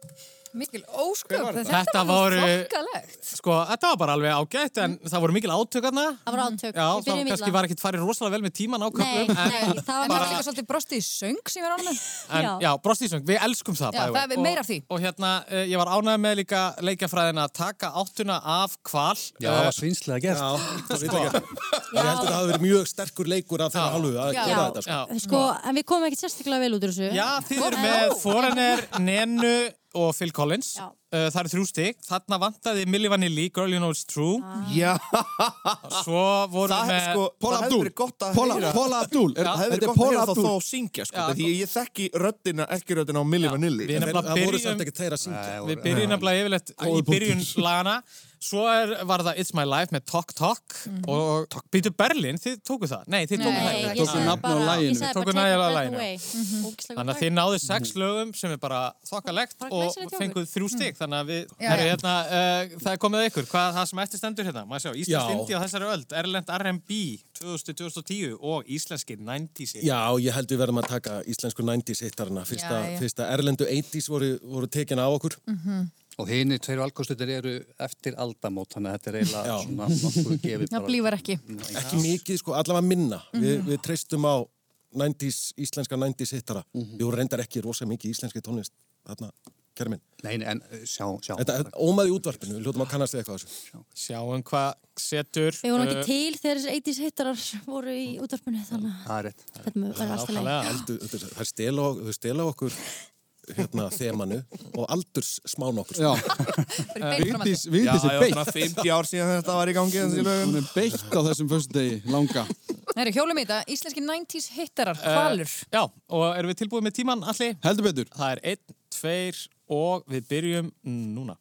Speaker 2: Mikil ósköp, þetta,
Speaker 1: Þetta
Speaker 2: var
Speaker 1: voru-
Speaker 2: þokkalegt.
Speaker 1: sko, þetta var bara alveg ágætt en það voru mikil átökarna
Speaker 4: Það var átök.
Speaker 1: já,
Speaker 4: Við
Speaker 1: þá
Speaker 4: byrjuðum
Speaker 1: kannski
Speaker 4: illa.
Speaker 1: var ekkit farið rosalega vel með tíman
Speaker 4: Nei,
Speaker 1: ákvöldum en,
Speaker 4: nei, það var
Speaker 2: En það var
Speaker 4: bara...
Speaker 2: líka svolítið brostið í söng sem ég var ánum
Speaker 1: en
Speaker 2: með.
Speaker 1: já,
Speaker 4: Já.
Speaker 1: já brostísöng, við elskum það
Speaker 2: Já,
Speaker 1: by the way.
Speaker 2: það er meira af því.
Speaker 1: og, og hérna, eh, ég var ánægð með líka leikjafræðina að taka áttuna af kval
Speaker 7: Já, það var svinslega gert.
Speaker 5: Ég held að það hafi verið mjög sterkur leikur af þeirra hálfu að
Speaker 2: Já.
Speaker 5: gera þetta sko.
Speaker 1: já,
Speaker 4: Sko, en við komum ekkert sérstaklega vel út úr þessu.
Speaker 1: Já, þið eru
Speaker 4: En-
Speaker 1: með Foreigner, Nenu og Phil Collins.
Speaker 4: Já.
Speaker 1: Uh, það eru þrjú stygg. Þarna vantaði Milli Vanilli, Girl You Know It's True. Ah.
Speaker 7: Ah.
Speaker 6: Já,
Speaker 1: Svo voru
Speaker 6: það
Speaker 1: með...
Speaker 6: hefði sko,
Speaker 3: Paul
Speaker 6: það hefði
Speaker 3: Abdul.
Speaker 6: verið gott að
Speaker 3: Paula,
Speaker 6: heyra.
Speaker 3: Paula Abdul. Er,
Speaker 6: Það hefði verið
Speaker 3: þetta er
Speaker 6: gott að
Speaker 3: Paula
Speaker 6: heyra þá
Speaker 3: Abdul.
Speaker 6: þá syngja, sko,
Speaker 1: Já,
Speaker 6: því ég- ég þekki röddina, ekki röddina á Milli Vanilli.
Speaker 1: Við
Speaker 5: En
Speaker 1: nefnilega
Speaker 5: Það voru
Speaker 1: byrjum,
Speaker 5: samt ekki þeir að syngja
Speaker 1: við byrjum nefnilega yfirleitt í byrjun lagana. Svo er, var það It's My Life með Talk Talk og Talk Beatur Berlin, þið tókuð það? Nei, þið tókuð
Speaker 4: Nei,
Speaker 1: það.
Speaker 4: ég
Speaker 1: ekki.
Speaker 3: tóku
Speaker 4: sagði
Speaker 3: nafn á
Speaker 4: bara-
Speaker 3: laginu.
Speaker 4: Ég sagði
Speaker 1: Tóku
Speaker 4: bara take
Speaker 1: nagið á
Speaker 4: your breath
Speaker 1: laginu.
Speaker 4: away. Ógeðslega
Speaker 1: Þannig að
Speaker 4: frægt.
Speaker 1: þið náðu sex lögum sem er bara þokkalegt
Speaker 4: Bara Hmm.
Speaker 1: og
Speaker 4: glæsilegt hjá ykkur.
Speaker 1: fenguð þrjú stygg. Þannig að við,
Speaker 2: Já,
Speaker 1: herru,
Speaker 2: já.
Speaker 1: hérna, uh, það er komið að ykkur. Hvað er það sem eftir stendur hérna? Má sjá, Íslensk
Speaker 5: Já.
Speaker 1: Indi á þessari öld, Erlend R&B 2000-2010 og Íslenski 90s. hit.
Speaker 5: Já, ég held við verðum að taka íslensku 90s hittarana. Fyrsta,
Speaker 2: Já, já.
Speaker 5: fyrsta erlendu 80s voru, voru tekin á okkur.
Speaker 7: Og hini tveir valkostutir eru eftir aldamót, þannig að þetta er eiginlega
Speaker 5: Já.
Speaker 7: svona nokkuð gefið
Speaker 2: Það blífar ekki.
Speaker 5: Ekki mikið, sko, allavega minna. Vi, við treystum á 90s, íslenska 90s hittara. Við vorum reyndar ekki rosa mikið íslenski tónlist. Þarna, kæri minn.
Speaker 7: Nei, nei, en uh, sjá, sjá.
Speaker 5: Þetta þetta ómaði í útvarpinu, við hljóttum að kannast við eitthvað af þessu.
Speaker 1: Sjáum hvað setur.
Speaker 4: Við vorum
Speaker 1: eh,
Speaker 4: ekki til þegar þessi 80s hittarar voru í útvarpinu þannig að
Speaker 7: Það er rétt. það er rétt.
Speaker 4: þetta var alltaf leið.
Speaker 1: nákvæmlega.
Speaker 5: Eldu, þetta- þær stela, ok- þau stela okkur hérna, þemanu og aldurs smán okkur.
Speaker 3: Já,
Speaker 2: Það er beint fram að
Speaker 3: Vigdís Vigdís er
Speaker 6: svona
Speaker 3: beitt
Speaker 6: 50 ár síðan þetta var í gangi þessi lögum.
Speaker 3: Hún er beitt á þessum föstudegi, langa
Speaker 2: Það eru hjólum í þetta, íslenski 90s hittarar, hvalur.
Speaker 1: Já, og erum við tilbúið með tíman, Alli?
Speaker 3: Heldur betur
Speaker 1: Það er einn, tveir og við byrjum núna.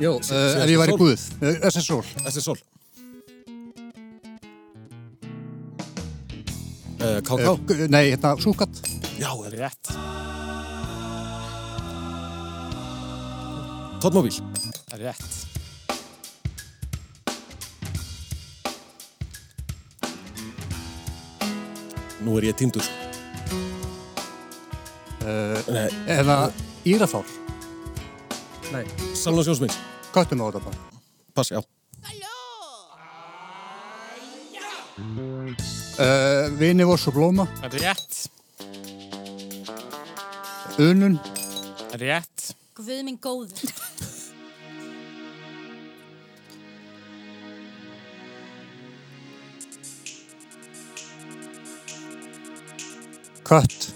Speaker 7: Jó, uh, ef ég væri guð, þessi sól.
Speaker 5: Þessi sól. Uh, Káká.
Speaker 7: Uh, nei, hérna, súkat.
Speaker 5: Já,
Speaker 1: Rétt.
Speaker 5: tóttmóbíl.
Speaker 1: Rétt.
Speaker 5: Nú er ég týndur. Nei,
Speaker 7: Eða írafár. Nei,
Speaker 5: Salons Jónsmins.
Speaker 7: gottum á þetta bara.
Speaker 5: Pass, já.
Speaker 7: Uh, Vini voss og blóma,
Speaker 1: Rétt.
Speaker 7: unun,
Speaker 1: Rétt.
Speaker 4: Guð minn góður.
Speaker 7: kött,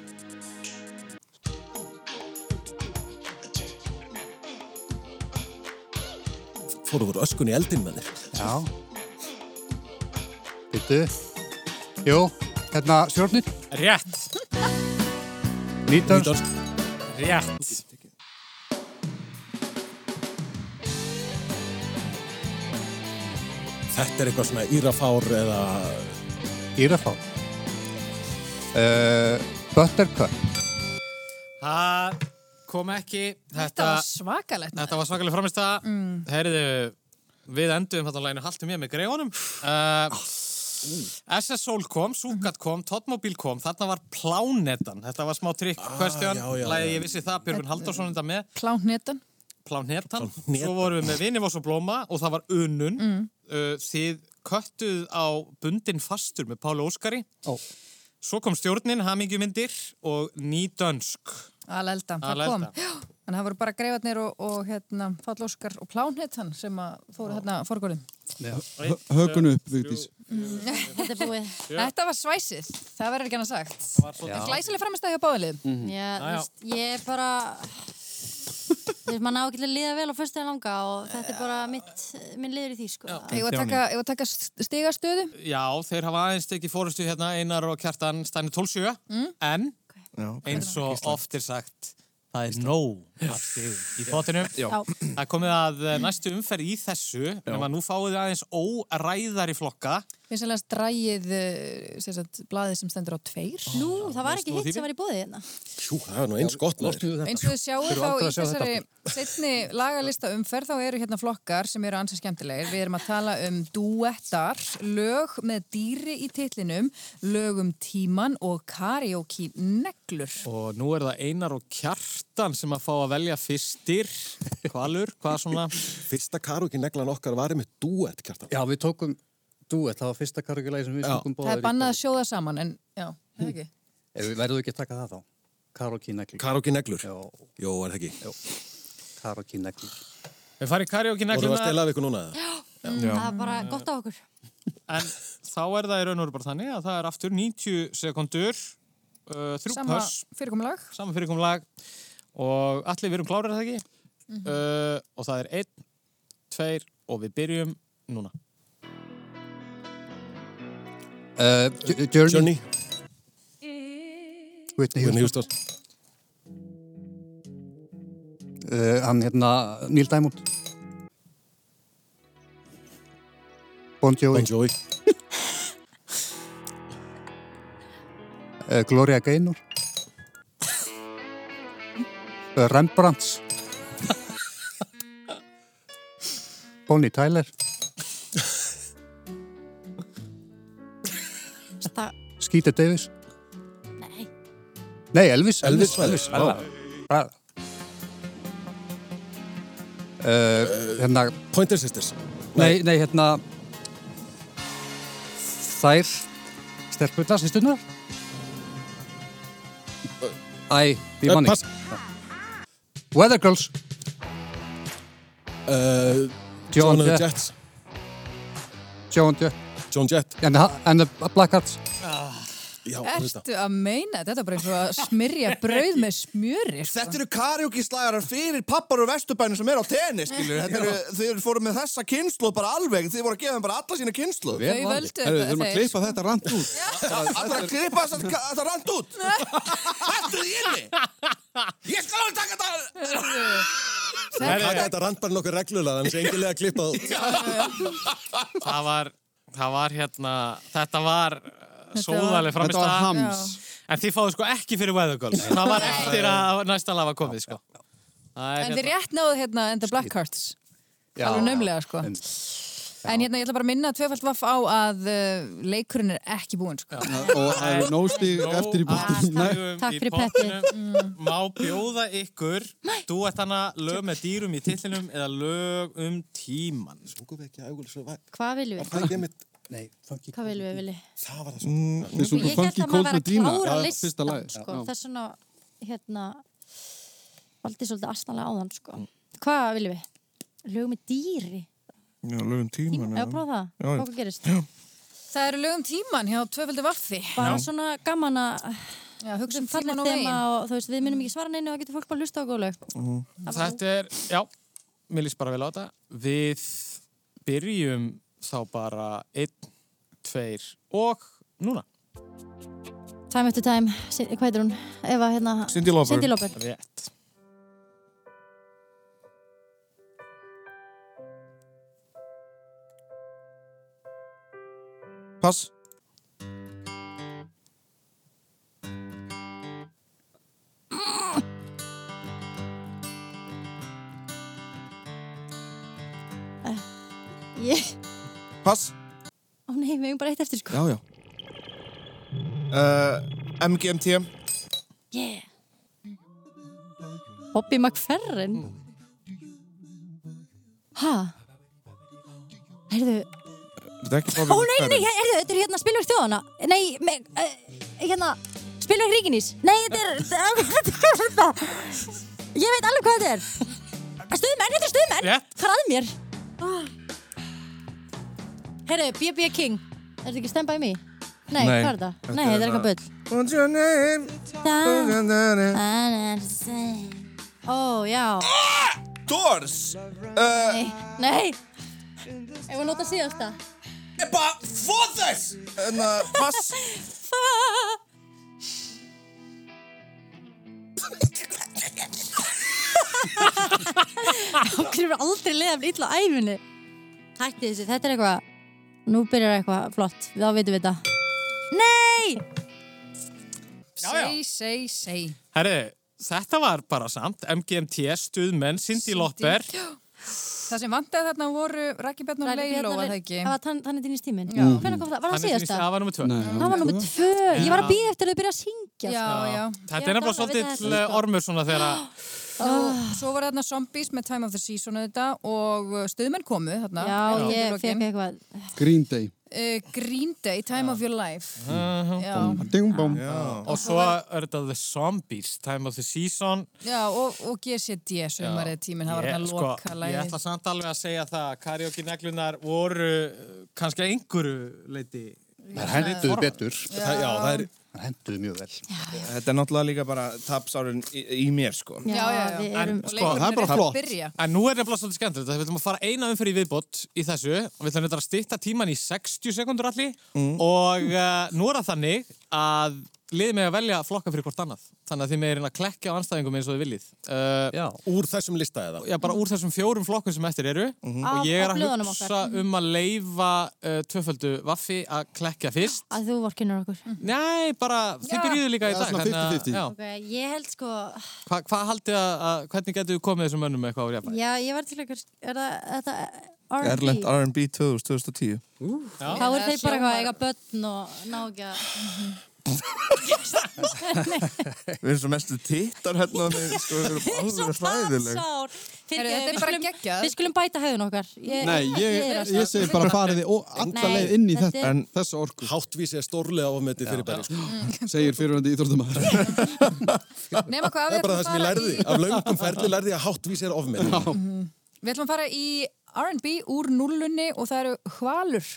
Speaker 5: Fóru voru öskun í eldin með þér.
Speaker 7: já. Byttu. Jó, hérna, stjórnir,
Speaker 1: Rétt.
Speaker 7: nýtans,
Speaker 5: Nýdorsk.
Speaker 1: Rétt.
Speaker 5: Þetta er eitthvað svona írafár eða...
Speaker 7: írafár. Uh, Buttercup,
Speaker 1: Það kom ekki.
Speaker 2: Þetta
Speaker 1: Þetta,
Speaker 2: var svakalegt.
Speaker 1: þetta var svakalega framist það. Mm. Heyriðu, við endum þarna læginu haltum ég með greiðunum. Uh, SS Soul kom, Súkat kom, Totmobil kom, þarna var Plánetan. Þetta var smá trikk, ah, Kvestjón.
Speaker 5: já, já,
Speaker 1: Lægi
Speaker 5: já.
Speaker 1: ég vissi það, Björgun Halldórsson enda með.
Speaker 2: Kláhnetan.
Speaker 1: Plánetan.
Speaker 5: Plánetan.
Speaker 1: Svo vorum við með Vinnivoss og Blóma og það var Unun. Uh, þið köttuð á Bundin Fastur með Páli Óskari.
Speaker 7: Ó.
Speaker 1: Svo kom stjórnin, hamingjumindir og Nýdönsk.
Speaker 2: Alelda, það
Speaker 1: Alelda.
Speaker 2: kom. Já, En það voru bara greifarnir og, og hérna, Páll Óskar og Plánhetan sem að fóru hérna forgóðin.
Speaker 3: Hökun upp, Vigdís
Speaker 4: Þetta er búið.
Speaker 2: Þetta var svæsið, það verður ekki annað sagt.
Speaker 1: svolítið.
Speaker 2: En Glæsileg framistæði hjá
Speaker 4: Já,
Speaker 2: báðlið.
Speaker 4: þú
Speaker 1: Mhm. já.
Speaker 4: veist, ég er bara... Þú veist, maður á ekki til að liða vel á fyrstu en langa og þetta er bara mitt, minn liður í því, sko.
Speaker 2: Ég var að taka, eigum við að taka st- stigastöðu.
Speaker 1: Já, þeir hafa aðeins tekið fórustu hérna Einar og Kjartan Stæni 12 mm. en
Speaker 6: Já,
Speaker 1: eins og oft er sagt það er nóg af stigum í fótinu.
Speaker 4: Já.
Speaker 1: Það er komið að eh, næstu umferð í þessu nema nú fáið þið aðeins óræðari flokka
Speaker 2: Finnst alveg að drægið eh, sem sagt, blaðið sem stendur á tveir.
Speaker 4: Nú, það var
Speaker 1: veist
Speaker 4: ekki
Speaker 1: þú
Speaker 4: hitt
Speaker 1: því?
Speaker 4: sem var í bóðið hérna.
Speaker 5: Jú, það er nú eins gott með þér.
Speaker 2: Eins og þið sjáu
Speaker 7: Hérna, Þurfum
Speaker 2: þá
Speaker 7: aldrei
Speaker 2: í
Speaker 7: að sjá þetta
Speaker 2: þessari setni lagalista umferð þá eru hérna flokkar sem eru ansið skemmtilegir. Við erum að tala um duettar, lög með dýri í titlinum, lög um tíman og karaoke neglur.
Speaker 1: og nú er það Einar og Kjartan sem að fá að velja fyrstir hvalur, hvað svona
Speaker 5: Fyrsta karúki neglan okkar var með duett, kjartan.
Speaker 7: Já, við tókum duett, það var fyrsta karugulegi sem við
Speaker 5: Já.
Speaker 7: tókum bóður.
Speaker 2: Það er bannað að sjóða saman en já, það er ekki.
Speaker 7: Verðu ekki að taka það þá? Karugulegi negli.
Speaker 5: Karúki neglur.
Speaker 7: Já,
Speaker 5: Jó, er það ekki.
Speaker 7: karugulegi negli.
Speaker 1: Við farið karaoke
Speaker 5: Vorum við að
Speaker 1: negluna
Speaker 5: stela af ykkur núna? eða?
Speaker 4: Það er bara gott á okkur.
Speaker 1: en þá er það í raun og veru bara þannig að það er aftur 90 sekundur uh, þrjú
Speaker 2: Sama
Speaker 1: pöss
Speaker 2: fyrirkomulag.
Speaker 1: saman fyrirkomlag og allir við erum klárar er það ekki uh, og það er einn, tveir og við byrjum núna
Speaker 7: Uh, Journey,
Speaker 5: Journey,
Speaker 7: Whitney
Speaker 5: Whitney
Speaker 7: Houston.
Speaker 5: Houston.
Speaker 7: uh, hann hérna, Neil Diamond Bon Jovi,
Speaker 5: Bon Jovi,
Speaker 7: uh, Gloria Gaynor uh, Rembrandts Bonnie Tyler
Speaker 4: Sta-
Speaker 7: Skeeter Davis
Speaker 4: Nei,
Speaker 7: Nei, Elvis
Speaker 5: Elvis, Elvis, já.
Speaker 7: Hvað? Uh, hérna,
Speaker 5: Pointer Sisters
Speaker 7: nei, nei, hérna Þær Stelpurna, sýsturnar Æ, því
Speaker 5: Eh,
Speaker 7: manni
Speaker 5: pass.
Speaker 7: Weather Girls
Speaker 5: uh, John
Speaker 7: John
Speaker 5: of the
Speaker 7: Jett.
Speaker 5: Jets
Speaker 7: Sjáum þau
Speaker 5: John Jett
Speaker 7: And, the- and the Black Hearts
Speaker 5: Já, hlusta.
Speaker 2: Ertu að meina? þetta? Þetta er bara eins og að smyrja brauð með smjöri. sko.
Speaker 6: Þetta eru karaoke-slagarar fyrir pappar og vesturbænum sem er á tenni, skilur. Þetta eru, þeir fóru með þessa kynslu bara alveg. Þeir voru að gefa þeim bara alla sína kynslu.
Speaker 2: Þau völdu
Speaker 3: Herru, þurfum að
Speaker 2: þeir-
Speaker 3: klippa þetta rand út.
Speaker 6: Allra að klippa þess að þetta rand út. Hættu því inni. Ég skal alveg taka þetta.
Speaker 5: Taka þetta randbar nokkuð reglulega, þannig að engilega klippa það út.
Speaker 1: það var, það var hérna, þetta var uh, sóðaleg framist
Speaker 3: Þetta var hams.
Speaker 1: En þið fáðu sko ekki fyrir Weather Girls. Það var eftir að næsta lag var komið, sko. Það er
Speaker 2: En þið
Speaker 1: hérna,
Speaker 2: rétt náðu hérna enda Black Hearts.
Speaker 7: Já,
Speaker 2: Alveg
Speaker 7: já,
Speaker 2: naumlega, sko. En hérna ég ætla bara að minna tvefald vaff á að uh, leikurinn er ekki búinn sko.
Speaker 3: Og það er nóstig eftir í bóttum. Nei,
Speaker 1: Nei.
Speaker 4: Takk
Speaker 1: í
Speaker 4: fyrir
Speaker 1: pottinum. Má bjóða ykkur, þú ert hana lög með dýrum í tillinum eða lög um tíman.
Speaker 5: Sungum við ekki ægulis og væg.
Speaker 4: hvað viljum við?
Speaker 5: Það er mitt,
Speaker 7: Nei, þannig
Speaker 4: Hvað viljum við vilji?
Speaker 5: það var það svona.
Speaker 3: þið
Speaker 4: Ég
Speaker 3: sungu
Speaker 4: held
Speaker 3: funky
Speaker 4: að maður
Speaker 3: cold
Speaker 4: var að
Speaker 3: Medina.
Speaker 4: klára
Speaker 3: Já, Fyrsta
Speaker 4: listan,
Speaker 3: lagi.
Speaker 4: sko.
Speaker 3: Já.
Speaker 4: Þess vegna, hérna, valdi svolítið astanlega áðan, sko. Hvað viljum við? Lögum með dýri.
Speaker 6: Já, lögum
Speaker 4: Tíma, eða prófa það?
Speaker 6: Já, já.
Speaker 4: Hvað gerist? Já.
Speaker 2: Það eru lögum tíman hjá tvefaldi vaffi.
Speaker 4: Bara svona gaman að
Speaker 2: Já, hugsa um
Speaker 4: falla
Speaker 2: tíman og
Speaker 4: þema
Speaker 2: veginn.
Speaker 4: og þú veist, við munum ekki svara neinu og það getur fólk bara að hlusta á góð lög.
Speaker 1: Þetta er, já, mér líst bara vel á þetta. Við byrjum þá bara einn, tveir og núna.
Speaker 4: Time after time, Sy- hvað heitir hún? Eva, hérna,
Speaker 6: Cindy Lauper.
Speaker 4: Cindy Lauper.
Speaker 1: Rétt.
Speaker 6: Pass.
Speaker 4: Ég,
Speaker 6: Pass.
Speaker 4: ó nei, við hefum bara eitt eftir, sko.
Speaker 6: Já, já. Uh, MGMT.
Speaker 4: Yeah. Bobby McFerrin? Ha? Heyrðu,
Speaker 6: Þetta er ekki
Speaker 4: ó nei, nei, nei, heyrðu, þetta er hérna spilverk þjóðana. Nei, me, uh, hérna, spilverk ríkinís. Nei, þetta er, hvað er þetta? Ég veit alveg hvað þetta er. Stuðmenn, þetta er stuðmenn.
Speaker 1: Rétt.
Speaker 4: Hvað er að mér? Ah. Heyrðu, B.B. King. Er þetta ekki Stand By Me? Nei,
Speaker 6: Nei.
Speaker 4: hvað er þetta? Nei, þetta er eitthvað bull.
Speaker 6: What's your name?
Speaker 4: Da- Ó, Oh, já.
Speaker 6: Doors Ah! uh,
Speaker 4: Nei, nei. Ef við nota síðasta.
Speaker 6: Bara for this En uh, pass
Speaker 4: Okkur er aldrei leiðan illa á æfinni. Hætti þessu, þetta er eitthvað. Nú byrjar eitthvað flott, þá veitum við þetta. Nei!
Speaker 1: já.
Speaker 2: Sey, sey, sey.
Speaker 1: Herri, þetta var bara samt. MGMT, stuðmenn, Cindy Lopper.
Speaker 2: Það sem vantaði þarna voru Raki Bjarnar og Leiló að það ekki.
Speaker 4: hérna Það var tann- þannig tínis tíminn. Hvernig kom það? Var það síðasta?
Speaker 1: Það var nummið tvö.
Speaker 3: Nei,
Speaker 4: Það var nummið tvö. Ég var að býða eftir að þau byrja að syngja. sko.
Speaker 2: Já,
Speaker 1: Þetta
Speaker 4: Ég
Speaker 2: já.
Speaker 1: er
Speaker 4: var
Speaker 1: nefnilega
Speaker 4: gamla við þetta,
Speaker 1: svolítið
Speaker 4: sko.
Speaker 1: ormur svona þegar að
Speaker 2: Og svo var þarna Zombies með Time of the Season auðvitað og uh, stuðmenn komu þarna.
Speaker 4: Já,
Speaker 2: undir
Speaker 4: ég
Speaker 2: lokin.
Speaker 4: fekk eitthvað.
Speaker 3: Green Day.
Speaker 2: Uh, Green Day, Time of Your Life. Já,
Speaker 3: Ding, bom.
Speaker 1: Og svo er þetta The Zombies, Time of the Season.
Speaker 2: já og, og GCD sumarið tíminn, það var
Speaker 1: Ég- sko,
Speaker 2: þarna loka
Speaker 1: Ég ætla samt alveg að segja það að karaoke-neglunar voru uh, kannski að einhverju leiti.
Speaker 7: Það henduðu betur
Speaker 5: Það, já, það er,
Speaker 7: Það henduðu mjög vel
Speaker 6: Þetta er náttúrulega líka bara tapsárun í, í mér sko
Speaker 4: Já,
Speaker 2: Já, já, já.
Speaker 1: En
Speaker 4: við erum...
Speaker 1: sko,
Speaker 3: það er bara
Speaker 2: að
Speaker 3: flott.
Speaker 2: byrja.
Speaker 1: En nú er nefnilega svolítið skemmtilegt að við ætlum að fara eina umfyrir í viðbót í þessu og við ætlum nefnilega
Speaker 3: Mm.
Speaker 1: eh, að stýtta tíman í 60 sekundur allir og uh, nú er það þannig að liðið með að velja flokka fyrir hvort annað þannig að þið með er að klekja á anstæðingum eins og þið viljið uh,
Speaker 7: Já,
Speaker 5: Mm, Úr þessum lista eða?
Speaker 1: já, bara úr þessum fjórum flokkum sem eftir eru og
Speaker 3: Mhm.
Speaker 4: Af-
Speaker 1: ég er
Speaker 4: af
Speaker 1: að
Speaker 4: blöðunum
Speaker 1: hugsa
Speaker 4: okkar. Mhm.
Speaker 1: um að leifa uh, tvöföldu vaffi að klekja fyrst
Speaker 4: að þú vorkinur okkur.
Speaker 2: Mm.
Speaker 1: nei, bara, þið
Speaker 2: Já.
Speaker 1: byrjuðu líka í
Speaker 3: Já,
Speaker 1: dag
Speaker 3: svona
Speaker 1: þannig að-
Speaker 3: 50-50.
Speaker 1: já.
Speaker 4: Ok, ég held sko,
Speaker 1: Hva, hvað haldið að, að hvernig getur við komið þessum mönnum eitthvað á jafnvæg?
Speaker 4: já, ég var til eitthvað, er það, þetta R&B?
Speaker 6: Erlend R&B 2000, 2010
Speaker 4: Þá er þeir
Speaker 2: Það
Speaker 4: bara
Speaker 2: hljómar-
Speaker 4: eitthvað að eiga börn og ná ekki að...
Speaker 6: Við erum svo mestu tittar hérna þannig, sko, Við erum alveg hræðileg
Speaker 4: Sár. Fyrirgefðu,
Speaker 2: Heyrðu, þetta er
Speaker 4: við
Speaker 2: bara
Speaker 4: skulum-
Speaker 2: geggjað.
Speaker 4: Við skulum bæta höfðun okkar. Ég,
Speaker 3: Nei, ég,
Speaker 4: er að
Speaker 3: ég segi bara farið þið ó- alla
Speaker 4: Nei,
Speaker 3: leið inn í
Speaker 4: þetta
Speaker 3: þetta,
Speaker 4: er-
Speaker 3: en þessa orku,
Speaker 5: Háttvísi er stórlega ofmetið fyrir bæri. Sko.
Speaker 3: segir fyrirvændi íþórtumæður.
Speaker 2: Nefna hvað
Speaker 5: Það
Speaker 2: við
Speaker 5: er
Speaker 2: ætlum
Speaker 5: bara það sem ég
Speaker 2: fara
Speaker 5: lærði.
Speaker 2: í-
Speaker 5: Af löngum ferli lærði ég að háttvísi er ofmetið.
Speaker 2: Við ætlum að fara í R&B úr nullunni og það eru hvalur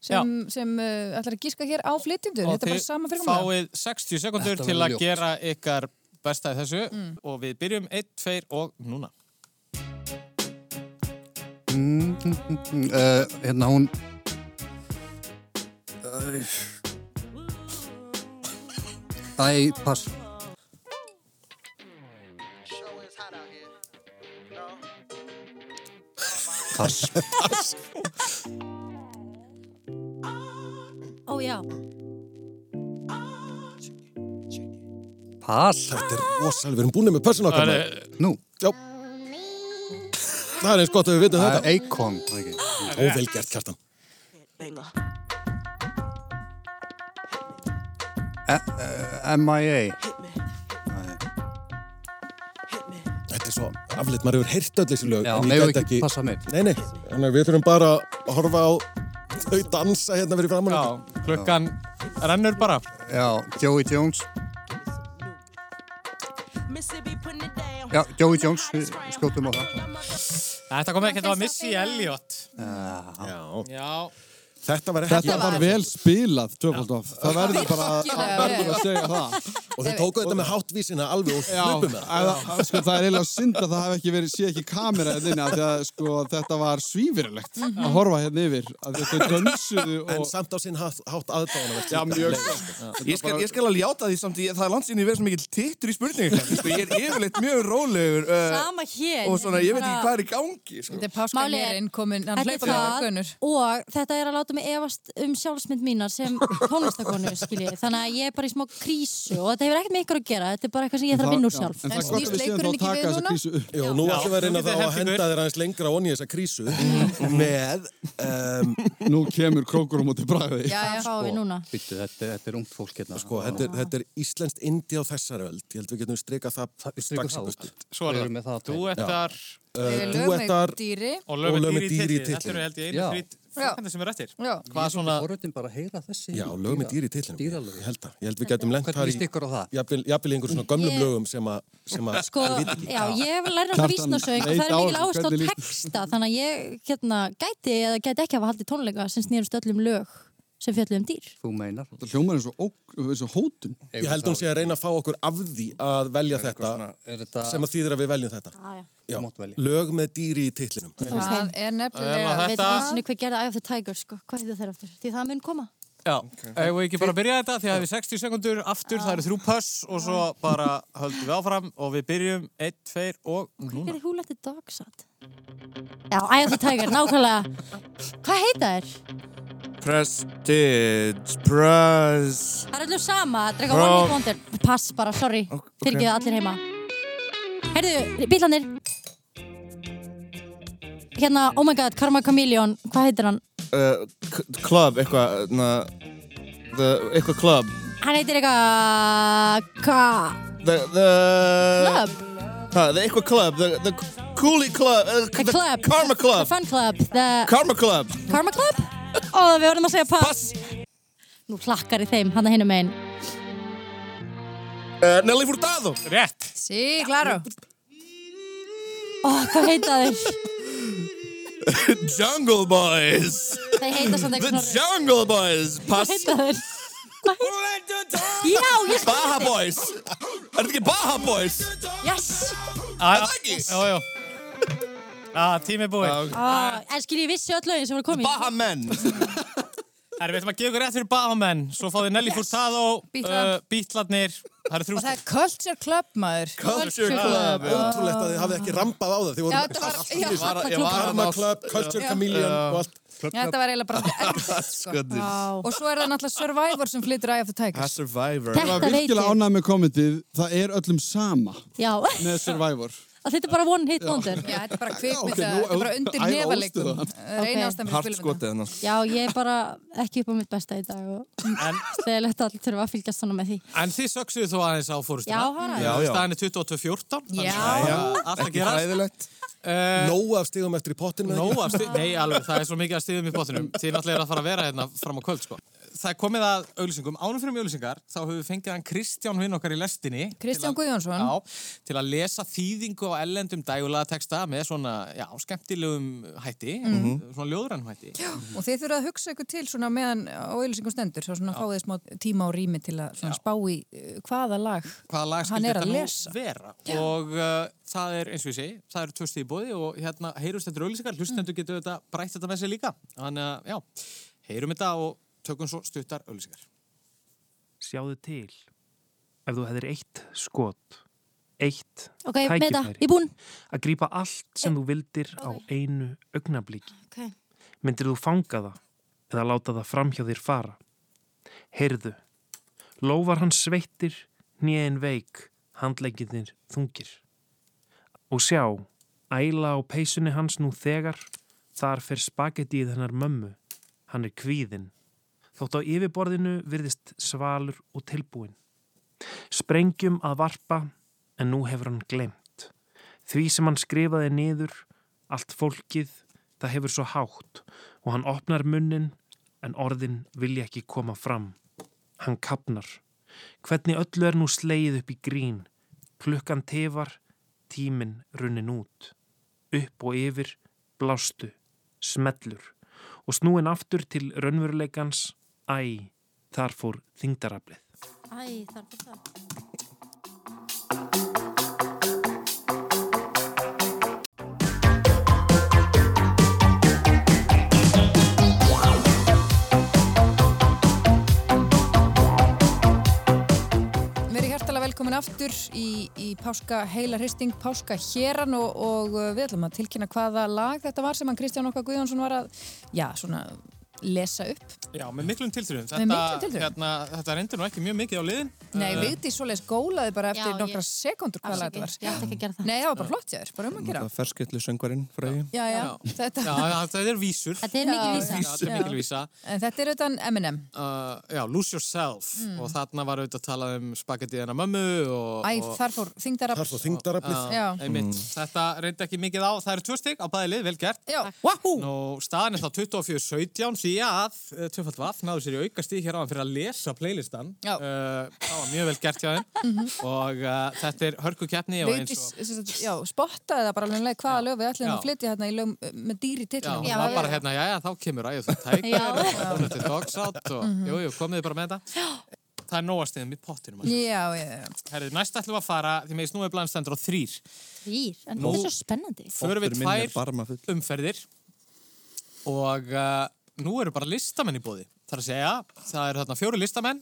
Speaker 2: sem, sem uh, ætlar að gíska hér á flytjendur. Þetta er bara sama fyrir komuna.
Speaker 1: fáið 60 sekundur
Speaker 7: Þetta
Speaker 1: til
Speaker 7: verður
Speaker 1: að
Speaker 7: ljótt.
Speaker 1: gera ykkar besta í þessu og við byrjum 1, 2 og núna.
Speaker 7: uh, hérna hún Æ, pass Pass
Speaker 4: Ó, já.
Speaker 7: Pass
Speaker 5: Þetta er rosal, við erum búin með pössun okkar.
Speaker 1: Það
Speaker 5: maður.
Speaker 1: er,
Speaker 7: Nú,
Speaker 5: Það er eins gott að við vitum
Speaker 7: það
Speaker 5: þetta.
Speaker 7: eh, er Eikon okay.
Speaker 5: Óvelgjart, Kjartan.
Speaker 7: MIA
Speaker 5: Þetta er svo afleitt, maður hefur heyrt öll þessi lög.
Speaker 7: Já,
Speaker 5: en ég
Speaker 7: megum
Speaker 5: gæti
Speaker 7: við ekki passa mig.
Speaker 5: Nei, nei, þannig að við þurfum bara að horfa á þau dansa hérna fyrir framann.
Speaker 1: já,
Speaker 5: okkur.
Speaker 1: klukkan rennur bara.
Speaker 7: Já, Joey Jones
Speaker 9: Mississippi putting it down.
Speaker 7: Já, Joey Jones, øh, við skjótum á það
Speaker 1: Þetta kom ekki, þetta var Missy Elliot.
Speaker 5: Já.
Speaker 1: Já,
Speaker 5: Þetta var ekki...
Speaker 3: Þetta var vel spilað, tvöfald of. Það verður bara
Speaker 2: Virkilega
Speaker 3: það verður að segja það.
Speaker 5: Og þau tóku þetta með háttvísina alveg og hlupu með það.
Speaker 3: Eða, sko, það er eiginlega synd að það hef ekki verið, sé ekki kamera hérna inni, af því að sko, þetta var svífyrirlegt að horfa hérna yfir. Af því að þau dönsuðu
Speaker 5: En
Speaker 3: og...
Speaker 5: samt á sinn hátt, hátt aðdáðan.
Speaker 3: Já, mjög.
Speaker 6: Ég skal, ég skal alveg játa því samt ég, það er landsinni verið svo mikill tittur í spurningar sko, ég er yfirleitt mjög rólegur
Speaker 1: Eh,
Speaker 6: uh,
Speaker 4: Sama hér.
Speaker 6: og svona ég veit ekki
Speaker 4: Bara-
Speaker 6: hvað er í gangi sko.
Speaker 2: Þetta er páskan
Speaker 4: Málið er-
Speaker 2: hér innkomin, hann
Speaker 4: Þetta er
Speaker 2: hleypa með orgunur.
Speaker 4: það og þetta er að láta mig efast um sjálfsmynd mínar sem tónlistakonu skilji. Þannig að ég er bara í smá krísu og þetta hefur ekkert með ykkur að gera. Þetta er bara eitthvað sem ég þarf að vinna úr
Speaker 3: Já,
Speaker 4: sjálf.
Speaker 3: En það
Speaker 2: En
Speaker 3: er gott að
Speaker 2: snýst
Speaker 3: við séum þá
Speaker 2: leikurinn
Speaker 3: að
Speaker 2: ekki
Speaker 3: taka
Speaker 2: við
Speaker 3: þessa
Speaker 2: núna?
Speaker 3: krísu upp.
Speaker 5: Jú, nú ætlum við Mhm. að
Speaker 1: Þið
Speaker 5: reyna þá
Speaker 1: getið
Speaker 5: að
Speaker 1: hent
Speaker 5: henda
Speaker 1: ykkur.
Speaker 5: þér aðeins lengra onni í þessa krísu. Með... Um,
Speaker 3: Nú kemur krókur á móti bræði.
Speaker 2: Já,
Speaker 4: Það
Speaker 2: já.
Speaker 7: Sko.
Speaker 4: fáum við núna.
Speaker 7: Býttu, þetta, þetta er ungt fólk hérna
Speaker 5: sko, þetta er, þetta er íslenskt indi á þessari öld. Ég held við getum strikað það
Speaker 7: Við
Speaker 5: strax
Speaker 7: strykum
Speaker 5: í
Speaker 7: það
Speaker 5: burtu.
Speaker 7: út
Speaker 1: svo er
Speaker 7: Við erum með
Speaker 1: það.
Speaker 7: það
Speaker 1: Þú
Speaker 7: að
Speaker 1: ert þar
Speaker 2: Við
Speaker 5: Eh, þú
Speaker 2: lögum með
Speaker 5: ert þar-
Speaker 2: dýri.
Speaker 1: og
Speaker 5: Og
Speaker 1: lögum
Speaker 5: lög
Speaker 1: með
Speaker 5: með
Speaker 1: dýri
Speaker 5: dýr í
Speaker 1: í titli. Þetta
Speaker 5: titlinum.
Speaker 1: eru held ég
Speaker 7: Já.
Speaker 1: einu frýtt frækandi sem er eftir.
Speaker 2: Já.
Speaker 1: Hvað svona,
Speaker 7: Forröndin bara að heyra þessi
Speaker 5: Já, lög með dýr í tillinu.
Speaker 7: Dýralög
Speaker 5: Ég held það. Ég held við getum lent
Speaker 7: Hvernig
Speaker 5: þar í...
Speaker 7: líst ykkur á það?
Speaker 5: Jafnvel jafnvel í einhverjum svona gömlum
Speaker 4: Ég-
Speaker 5: lögum sem að... sem að-
Speaker 4: Sko,
Speaker 5: maður veit ekki.
Speaker 4: já, ég hef lærið alltaf
Speaker 3: Kjartan
Speaker 4: vísnarsöng og
Speaker 3: leit
Speaker 4: það er
Speaker 3: á
Speaker 4: mikil
Speaker 3: okkur,
Speaker 4: áherslu á
Speaker 3: hvernig líst-
Speaker 4: texta þannig að ég hérna, gæti eða gæti ekki hafa haldið tónleika sem snýrust öllum lög sem fjöllum um dýr.
Speaker 7: Þú meinar
Speaker 3: Það hljómar eins og, ók- eins og hótun.
Speaker 5: Ég held hún sé að reyna að fá okkur af því að velja þetta
Speaker 7: Er þetta
Speaker 5: sem að þýðir að við veljum þetta.
Speaker 4: Ah,
Speaker 5: Já,
Speaker 7: mátt velja.
Speaker 5: lög með dýri í titlinum.
Speaker 2: Það er nefnilega...
Speaker 4: Veit
Speaker 1: Þetta-
Speaker 4: eins og hvað gerði Eye of the Tiger, sko, hvað hefði þeir aftur? Því það mun koma.
Speaker 1: já, eigum við ekki bara að byrja þetta því að við 60 sekundur aftur, það eru þrjú pöss og svo bara höldum við áfram og við byrjum 1, 2 og núna.
Speaker 4: Hver er húlætti dogsat? Já, Eye of the Tiger, nákvæmlega. Hvað heita þér?
Speaker 6: Prestige Press
Speaker 4: Það er allir sama, þetta er
Speaker 6: Bro.
Speaker 4: eitthvað one hit wonder Pass bara, sorry,
Speaker 6: Ok, ok.
Speaker 4: fyrir ekki það allir heima Herðu, bílanir Hérna, oh my god, Karma Chameleon Hvað heitir hann?
Speaker 6: uh, k- Club, eitthvað na, the, eitthvað club
Speaker 4: Hann heitir eitthvað Hvað?
Speaker 6: the, the, Uh,
Speaker 4: Club?
Speaker 6: ha, the, eitthvað club the, the Cooley Club uh,
Speaker 4: The Club
Speaker 6: Karma Club
Speaker 4: The Fun Club The
Speaker 6: Karma Club
Speaker 4: Karma Club? Ó, við vorum að segja pass, Nú hlakkar í þeim, hann er hinum einn
Speaker 6: uh, Nelly Furtado
Speaker 1: Rétt!
Speaker 2: Sí, klaro.
Speaker 4: Ó, hvað heita þeir?
Speaker 6: Jungle Boys
Speaker 4: Þeir heita samt
Speaker 6: The
Speaker 4: eitthvað svona-
Speaker 6: Jungle Boys
Speaker 4: Hvað
Speaker 6: Pass
Speaker 4: heita þeir? Hvað heita Já, ég
Speaker 6: Baha Boys Er þetta ekki Baha Boys?
Speaker 4: Yes
Speaker 1: Það
Speaker 6: það ekki?
Speaker 1: Jó, jó. Á, tími er búinn.
Speaker 4: Ah, En skil ég vissi öll lögin sem voru komið
Speaker 6: Baha Men
Speaker 1: Herri, við ætlum að gefa ykkur rétt fyrir Bahamenn, svo fáðið Nelly Furtado, uh,
Speaker 2: Beatland.
Speaker 1: Bítlarnir, það eru
Speaker 2: Og
Speaker 1: þrjú
Speaker 2: það er Culture Club, maður.
Speaker 6: Culture Club.
Speaker 5: Ótrúlegt að þið hafið ekki rampað á það. Þið
Speaker 2: Já,
Speaker 5: voru
Speaker 2: þetta var, já,
Speaker 5: allt í
Speaker 1: var-
Speaker 2: Karma
Speaker 1: ég
Speaker 2: Club.
Speaker 1: var-
Speaker 5: Karma Club, Culture Chameleon og allt.
Speaker 2: Já, þetta var eiginlega bara ekkert, sko.
Speaker 4: Vá.
Speaker 2: Og svo er það náttúrulega Survivor sem flyttur Eye of the
Speaker 6: A
Speaker 2: Tiger.
Speaker 6: survivor.
Speaker 3: Ég var
Speaker 4: Þetta veit
Speaker 3: virkilega
Speaker 4: ég.
Speaker 3: ánægð með kommentið, það er öllum sama
Speaker 4: Já,
Speaker 3: með Survivor.
Speaker 4: að þetta er bara one hit wonder.
Speaker 2: Já, þetta er bara kvikmynda,
Speaker 3: ok, nú-
Speaker 2: þetta er bara undir
Speaker 3: æ,
Speaker 2: nefalekum.
Speaker 3: óstu
Speaker 2: Reina
Speaker 4: Ok.
Speaker 2: ástæðan fyrir
Speaker 6: Hart
Speaker 2: spilum.
Speaker 6: skotið hennar.
Speaker 4: Já, ég er bara ekki upp á mitt besta í dag og
Speaker 1: En,
Speaker 4: stegilegt að allir þurfa að fylgjast svona með því.
Speaker 1: en þið söksuðu þó aðeins á
Speaker 4: Já,
Speaker 1: fórustuna.
Speaker 4: hana.
Speaker 6: Já, já.
Speaker 1: Staðan er 28-14.
Speaker 2: Já.
Speaker 1: Alltaf gerast.
Speaker 6: Ræðilegt.
Speaker 1: Uh,
Speaker 5: Nóa af stigum eftir í pottinu.
Speaker 1: Nó að stið, nei alveg, það er svo mikið að stiðum í bóttinum. Þið náttúrulega er að fara að vera hérna fram á kvöld, sko. Það er komið að auglýsingum. Ánum fyrir um auglýsingar, þá höfum við fengið hann Kristján hinn okkar í lestinni. Til
Speaker 2: Kristján
Speaker 1: að-
Speaker 2: Guðjónsson.
Speaker 1: Já, til að lesa þýðingu á ellendum dægulagatexta með svona, já, skemmtilegum hætti,
Speaker 2: Mhm.
Speaker 1: svona ljóðrænum hætti. Já.
Speaker 2: Og þið þurfa að hugsa ykkur til svona meðan á auðlýsingum stendur, svo svona fáið þið smá tíma og rými til að svona spá í eh, hvaða lag
Speaker 1: hvaða lag
Speaker 2: hann
Speaker 1: skildi
Speaker 2: er
Speaker 1: þetta
Speaker 2: að
Speaker 1: nú
Speaker 2: lesa.
Speaker 1: vera og uh, það er eins og ég segi það eru tvö stig í bóði og hérna heyrustendur
Speaker 2: Mm.
Speaker 1: auglýsingar, hlustendur getur þetta brætt þetta með sér líka þannig að já, heyrum þetta og tökum svo stuttar auglýsingar
Speaker 10: Sjáðu til. Ef þú hefðir eitt skot, eitt
Speaker 4: Ok, með það,
Speaker 10: tækifæri
Speaker 4: ég er búinn.
Speaker 10: að grípa allt sem þú vildir á einu augnablíki,
Speaker 4: Ok,
Speaker 10: myndir þú fanga það eða láta það framhjá þér fara. Heyrðu, lófar hans sveittir, nýðin veik, handlegginir þungir. Og sjá, æla á peysunni hans nú þegar, þar fer spagettið hennar mömmu, hann er kvíðinn. Þótt á yfirborðinu virðist svalur og tilbúin. Sprengjum að varpa, en nú hefur hann glemt. Því sem hann skrifaði niður, allt fólkið, það hefur svo hátt og hann opnar munnin, en orðin vilja ekki koma fram. Hann kapnar. Hvernig öllu er nú slegið upp í grín? Klukkan tefar, tíminn runnin út. Upp og yfir, blástu, smellur og snúin aftur til raunveruleikans, æ, þar fór þingdaraflið.
Speaker 4: æ, þar fyrir það.
Speaker 2: Við erum hjertalega velkomin aftur í, í Páska Heila Hristing, Páska Héran og, og uh, við ætlum að tilkynna hvaða lag þetta var sem hann Kristján okkar Guðjónsson var að, já, svona lesa upp.
Speaker 1: Já, með miklum tilþrifum
Speaker 2: Með miklum tilþrifum.
Speaker 1: hérna, þetta reyndir nú ekki mjög mikið á liðin
Speaker 2: Nei, uh, Vigdís svoleiðis gólaði bara eftir
Speaker 4: Já,
Speaker 2: nokkra
Speaker 4: ég-
Speaker 2: sekundur hvaða lag þetta
Speaker 4: Afsakið,
Speaker 2: var.
Speaker 4: ég ætti ekki að gera það.
Speaker 2: Nei, það var bara flott, jáður, bara um að gera.
Speaker 6: Það ferskillu söngvarinn fræði.
Speaker 2: Já, já, þetta,
Speaker 1: Já, já, þetta er vísur
Speaker 4: Þetta er mikil vísa.
Speaker 1: Já, þetta er mikil vísa
Speaker 2: en þetta er M&M. auðvitað Eminem.
Speaker 1: uh, Já, Lose Yourself og þarna var auðvitað að tala um spagettið hennar mömmu og,
Speaker 2: Æ,
Speaker 1: og
Speaker 2: þar fór þingdarafl.
Speaker 5: Þar svo þingdaraflið.
Speaker 1: Já,
Speaker 2: Já.
Speaker 1: einmitt. Þetta reyndi ekki mikið á, það eru tvö stygg á bæði lið, vel gert
Speaker 2: Já, wahú!
Speaker 1: Nú, staðan er þá 24-17 því að uh, Tvöfald Vatn náðu sér í auka stíð hér á hann fyrir að lesa playlistan
Speaker 2: Já.
Speaker 1: Uh, Það var mjög vel gert hjá þeim og uh, þetta er hörkukeppni og eins
Speaker 2: Vigdís,
Speaker 1: og
Speaker 2: sem sagt, já, spottaði það bara alveg leið hvaða lög við ætlum
Speaker 1: Já.
Speaker 2: að flytja hérna í lög uh, með dýri
Speaker 1: Já,
Speaker 2: titlunum.
Speaker 1: það var bara hérna, já, já, þá kemur ægðu þú tækir
Speaker 4: Já.
Speaker 1: og hún er til dogs out og jú, jú, komið þið bara með þetta Það er nóastiðum í pottinum
Speaker 2: Já, já, já.
Speaker 1: Herrið, næst ætlum við að fara, því með snúið blandstendur á þrýr
Speaker 4: Þvír, en
Speaker 1: Nú-
Speaker 4: þetta er svo spennandi.
Speaker 1: Förum við
Speaker 6: minn er
Speaker 1: tvær
Speaker 6: barma full.
Speaker 1: umferðir og uh, nú eru bara listamenn í bóði. Það er að segja, það eru þarna fjóri listamenn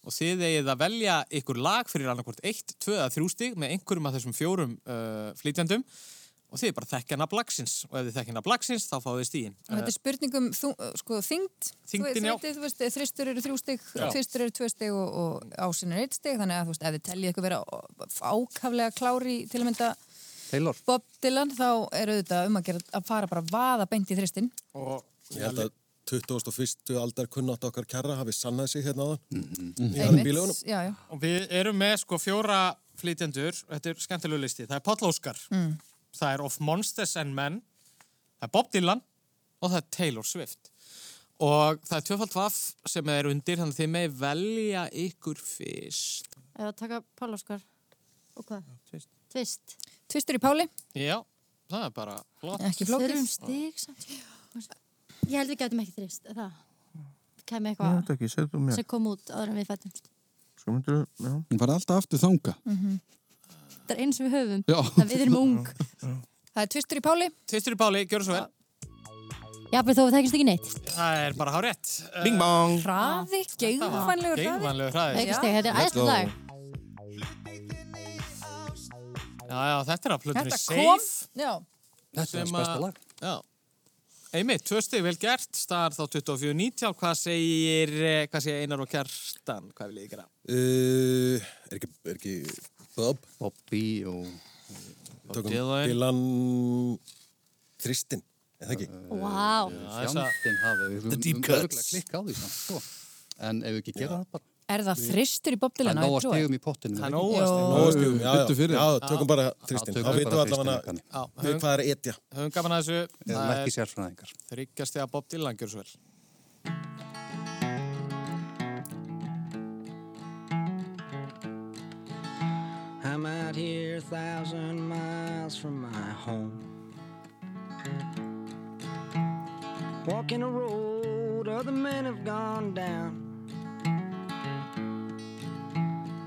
Speaker 1: og þið eigið að velja ykkur lag fyrir annarkvort eitt, tvö eða þrjú stig með einhverjum af þessum fjórum uh, flytjandum og þið bara þekkja nafn lagsins og ef þið þekkja nafn lagsins þá fáið þið stíin.
Speaker 2: Og Þetta er spurningum þú, sko, þyngd,
Speaker 1: Þyngdin, já.
Speaker 2: þú veist, þristur eru þrjú stig, tvistur eru tvö stig og, og ásinn er eitt stig, þannig að þú veist, ef þið teljið ykkur vera ákaflega klári til að mynda
Speaker 7: Taylor,
Speaker 2: Bob Dylan, þá eru þetta um að, gera, að fara bara að vaða beint í þristin.
Speaker 1: Og
Speaker 5: Ég held að 21. aldar kunnátt okkar kærra hafi sannað sig hérna áðan.
Speaker 2: Mhm. Einmitt.
Speaker 5: Í bílögunum.
Speaker 2: Já, já.
Speaker 1: og við erum með sko fjóra flytjendur, þetta er skemmtilegu listi, það er Páll Óskar,
Speaker 2: Mm.
Speaker 1: það er Of Monsters and Men, það er Bob Dylan og það er Taylor Swift. Og það er tvöfald vaff sem er undir, þannig að þið megi velja ykkur fyrst.
Speaker 4: Eða taka Pálaskar. Og hvað?
Speaker 1: tvist.
Speaker 4: Tvist.
Speaker 2: Tvistur í Páli,
Speaker 1: Já, það er bara flott.
Speaker 2: ekki
Speaker 4: Þurfum
Speaker 2: flókið.
Speaker 4: stig samt. Ég held við gætum ekki þrist, er það. Kæmi eitthvað
Speaker 6: ekki, segðu þú
Speaker 4: sem kom út áður en við fættum.
Speaker 6: Sko myndir þú, já.
Speaker 3: Hún fara alltaf aftur þanga.
Speaker 4: Þetta er eins sem við höfum.
Speaker 3: Já.
Speaker 4: Það við erum ung.
Speaker 2: Það er tvistur í Páli,
Speaker 1: Tvistur í Páli, gjör svo vel.
Speaker 4: Jafnveg þó við þekkist ekki neitt.
Speaker 1: Það er bara hár rétt.
Speaker 6: Bing bong.
Speaker 2: Hraði, geigvanlegur hraði.
Speaker 1: Geigvanlegur hraði.
Speaker 4: Ekki steg, þetta er
Speaker 1: Let's go.
Speaker 4: aðeinslega dag.
Speaker 1: Já, já, þetta er að plötunni
Speaker 2: Þetta
Speaker 1: safe.
Speaker 2: kom, já,
Speaker 7: Þetta er
Speaker 1: sem
Speaker 7: hans
Speaker 1: að-
Speaker 7: besta lag.
Speaker 1: Já. Einmitt, tvö stig vel gert, staðar þá 24.90, hvað segir, eh, hvað segir Einar og Kjartan, hvað vil ég gera?
Speaker 5: Uh, er ekki, er ekki Bob,
Speaker 7: Bobby og
Speaker 5: tökum
Speaker 1: Dylan.
Speaker 5: Dylan Þristin, eða ekki?
Speaker 4: Eh, Vá,
Speaker 1: þessa-
Speaker 7: fjandinn hafi. Við höfum
Speaker 5: deep
Speaker 7: örugglega
Speaker 5: cuts.
Speaker 7: klikkað á því samt, sko. En ef við ekki gera það bara.
Speaker 2: er það þristur í Bob
Speaker 7: Það er
Speaker 2: Dylan?
Speaker 7: nóg að stegum í pottinu.
Speaker 1: Það er
Speaker 7: ekki?
Speaker 1: nóg að
Speaker 2: Jó.
Speaker 1: stig.
Speaker 5: Ó, stigum, já,
Speaker 3: Biddu
Speaker 5: já,
Speaker 3: fyrir.
Speaker 5: já, tökum bara Þristin. Þá
Speaker 7: tökum bara
Speaker 5: veitum við
Speaker 7: Þristinn,
Speaker 5: allavega
Speaker 7: Ragnar.
Speaker 1: Já,
Speaker 5: við
Speaker 1: höfum,
Speaker 5: hvað er etja.
Speaker 1: höfum gaman að þessu,
Speaker 7: Eða
Speaker 1: það
Speaker 7: ekki
Speaker 1: er
Speaker 7: sérfræðingar.
Speaker 1: þryggjast eða Bob Dylan, gjör svo vel.
Speaker 11: I'm out here a thousand miles from my home. Walking a road other men have gone down.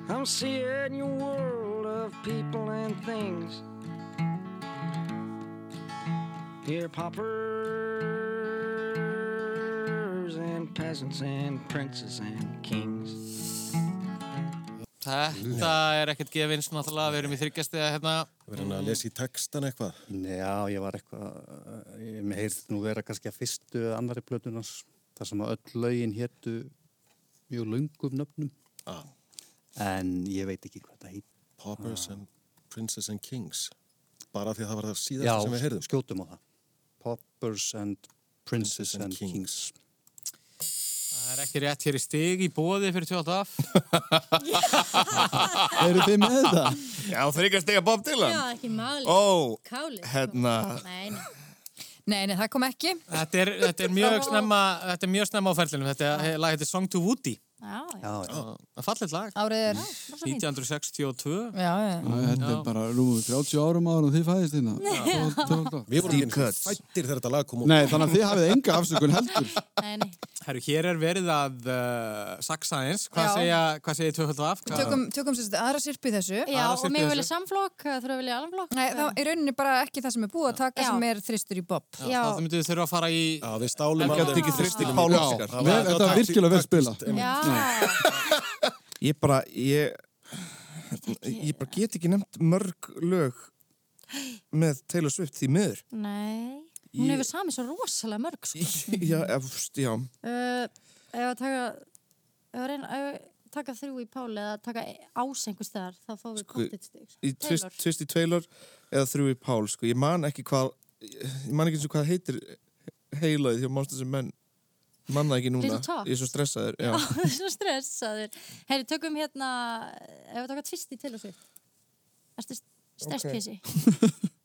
Speaker 11: I'm seeing your world of people and things. Here, paupers and peasants and princes and kings.
Speaker 1: Þetta er ekkert gefins náttúrulega, við erum í þryggjast eða hérna,
Speaker 5: Við erum að lesa í textan eitthvað.
Speaker 7: Mhm. Já, ég var eitthvað, eh, ég mér heyrði nú vera kannski að fyrstu eða annari blöðunars, þar sem að öll lögin héttu mjög löngum nöfnum.
Speaker 5: Ah.
Speaker 7: En ég veit ekki hvað það heit.
Speaker 5: Paupers and Princess and Kings. Bara því að það var það
Speaker 7: Já,
Speaker 5: síðasta sem við heyrðum. sko.
Speaker 7: skjótum á það. Poppers and Princes
Speaker 5: Princes and
Speaker 7: and Kings.
Speaker 1: það er ekki rétt hér í stig í bóði fyrir 28.
Speaker 3: Eru þið með þetta?
Speaker 6: Já, þryggjast eiga Bob Dylan.
Speaker 4: já, ekki máli.
Speaker 6: Ó,
Speaker 4: Kálið.
Speaker 6: hérna.
Speaker 4: Nei, nei.
Speaker 2: Nei, nei, það kom ekki.
Speaker 1: Þetta er, þetta er mjög snemma, þetta er mjög snemma á ferlinum, þetta er, lag heitir Song to Woody,
Speaker 4: Já, já.
Speaker 7: Já,
Speaker 5: Ah.
Speaker 7: já.
Speaker 1: það fallit lag,
Speaker 2: Árið er,
Speaker 4: Rosa fínt.
Speaker 1: 1962.
Speaker 2: já, já.
Speaker 3: Æ, Þetta er bara rúmum 30 árum ára en þið fæðist hérna. Tólf- tólf daga.
Speaker 5: Við vorum ekki fættir þegar þetta lag kom út.
Speaker 3: Nei, þannig að þið hafið enga afsökun heldur.
Speaker 4: Nei, nei.
Speaker 1: Herru, hér er verið að uh, saksa eins. Hvað
Speaker 2: Já.
Speaker 1: segja, hvað segja tvöfald af? Hvað-
Speaker 2: Tökum, tökum sérst aðra sirpu í þessu.
Speaker 4: Já,
Speaker 1: Aðra
Speaker 4: og
Speaker 1: sirpu
Speaker 4: mig
Speaker 1: þessu.
Speaker 4: vilja samflokk, þú eru að vilja alveg
Speaker 2: Nei, þá er rauninni bara ekki það sem er búið að taka
Speaker 4: Já.
Speaker 2: sem er þristur í Bob.
Speaker 1: Já, þá myndum við þurfa að fara í...
Speaker 5: Já, við stálum
Speaker 1: Helgi
Speaker 6: hérna,
Speaker 1: átti ekki
Speaker 5: Þristin í
Speaker 6: Pál
Speaker 5: mjög.
Speaker 6: Óskar.
Speaker 5: Það
Speaker 3: Vel-
Speaker 5: var-
Speaker 3: Þetta var virkilega vel spila.
Speaker 4: Já,
Speaker 6: Ég bara, ég, ég bara get ekki nefnt mörg lög með Taylor Swift því miður.
Speaker 4: nei. Hún
Speaker 6: Ég-
Speaker 4: hefur samið svo rosalega mörg, sko.
Speaker 6: Já, efst, já.
Speaker 4: Uh, ef að taka, ef að reyna, ef að taka þrjú í Páli eða taka e- ás einhvers staðar, þá fáum við
Speaker 6: Sko,
Speaker 4: kontið stíks.
Speaker 6: Í tvist, tvist í Taylor eða þrjú í Pál, sko. Ég man ekki hvað, ég man ekki eins og hvað heitir heilaðið hjá Monsters and Men. Ég Man það ekki núna.
Speaker 4: Little Talk.
Speaker 6: Ég er svo stressaður, já.
Speaker 4: Það er svo stressaður. Herri, tökum hérna, ef að taka tvist í til og svitt. Erstu stresspísi?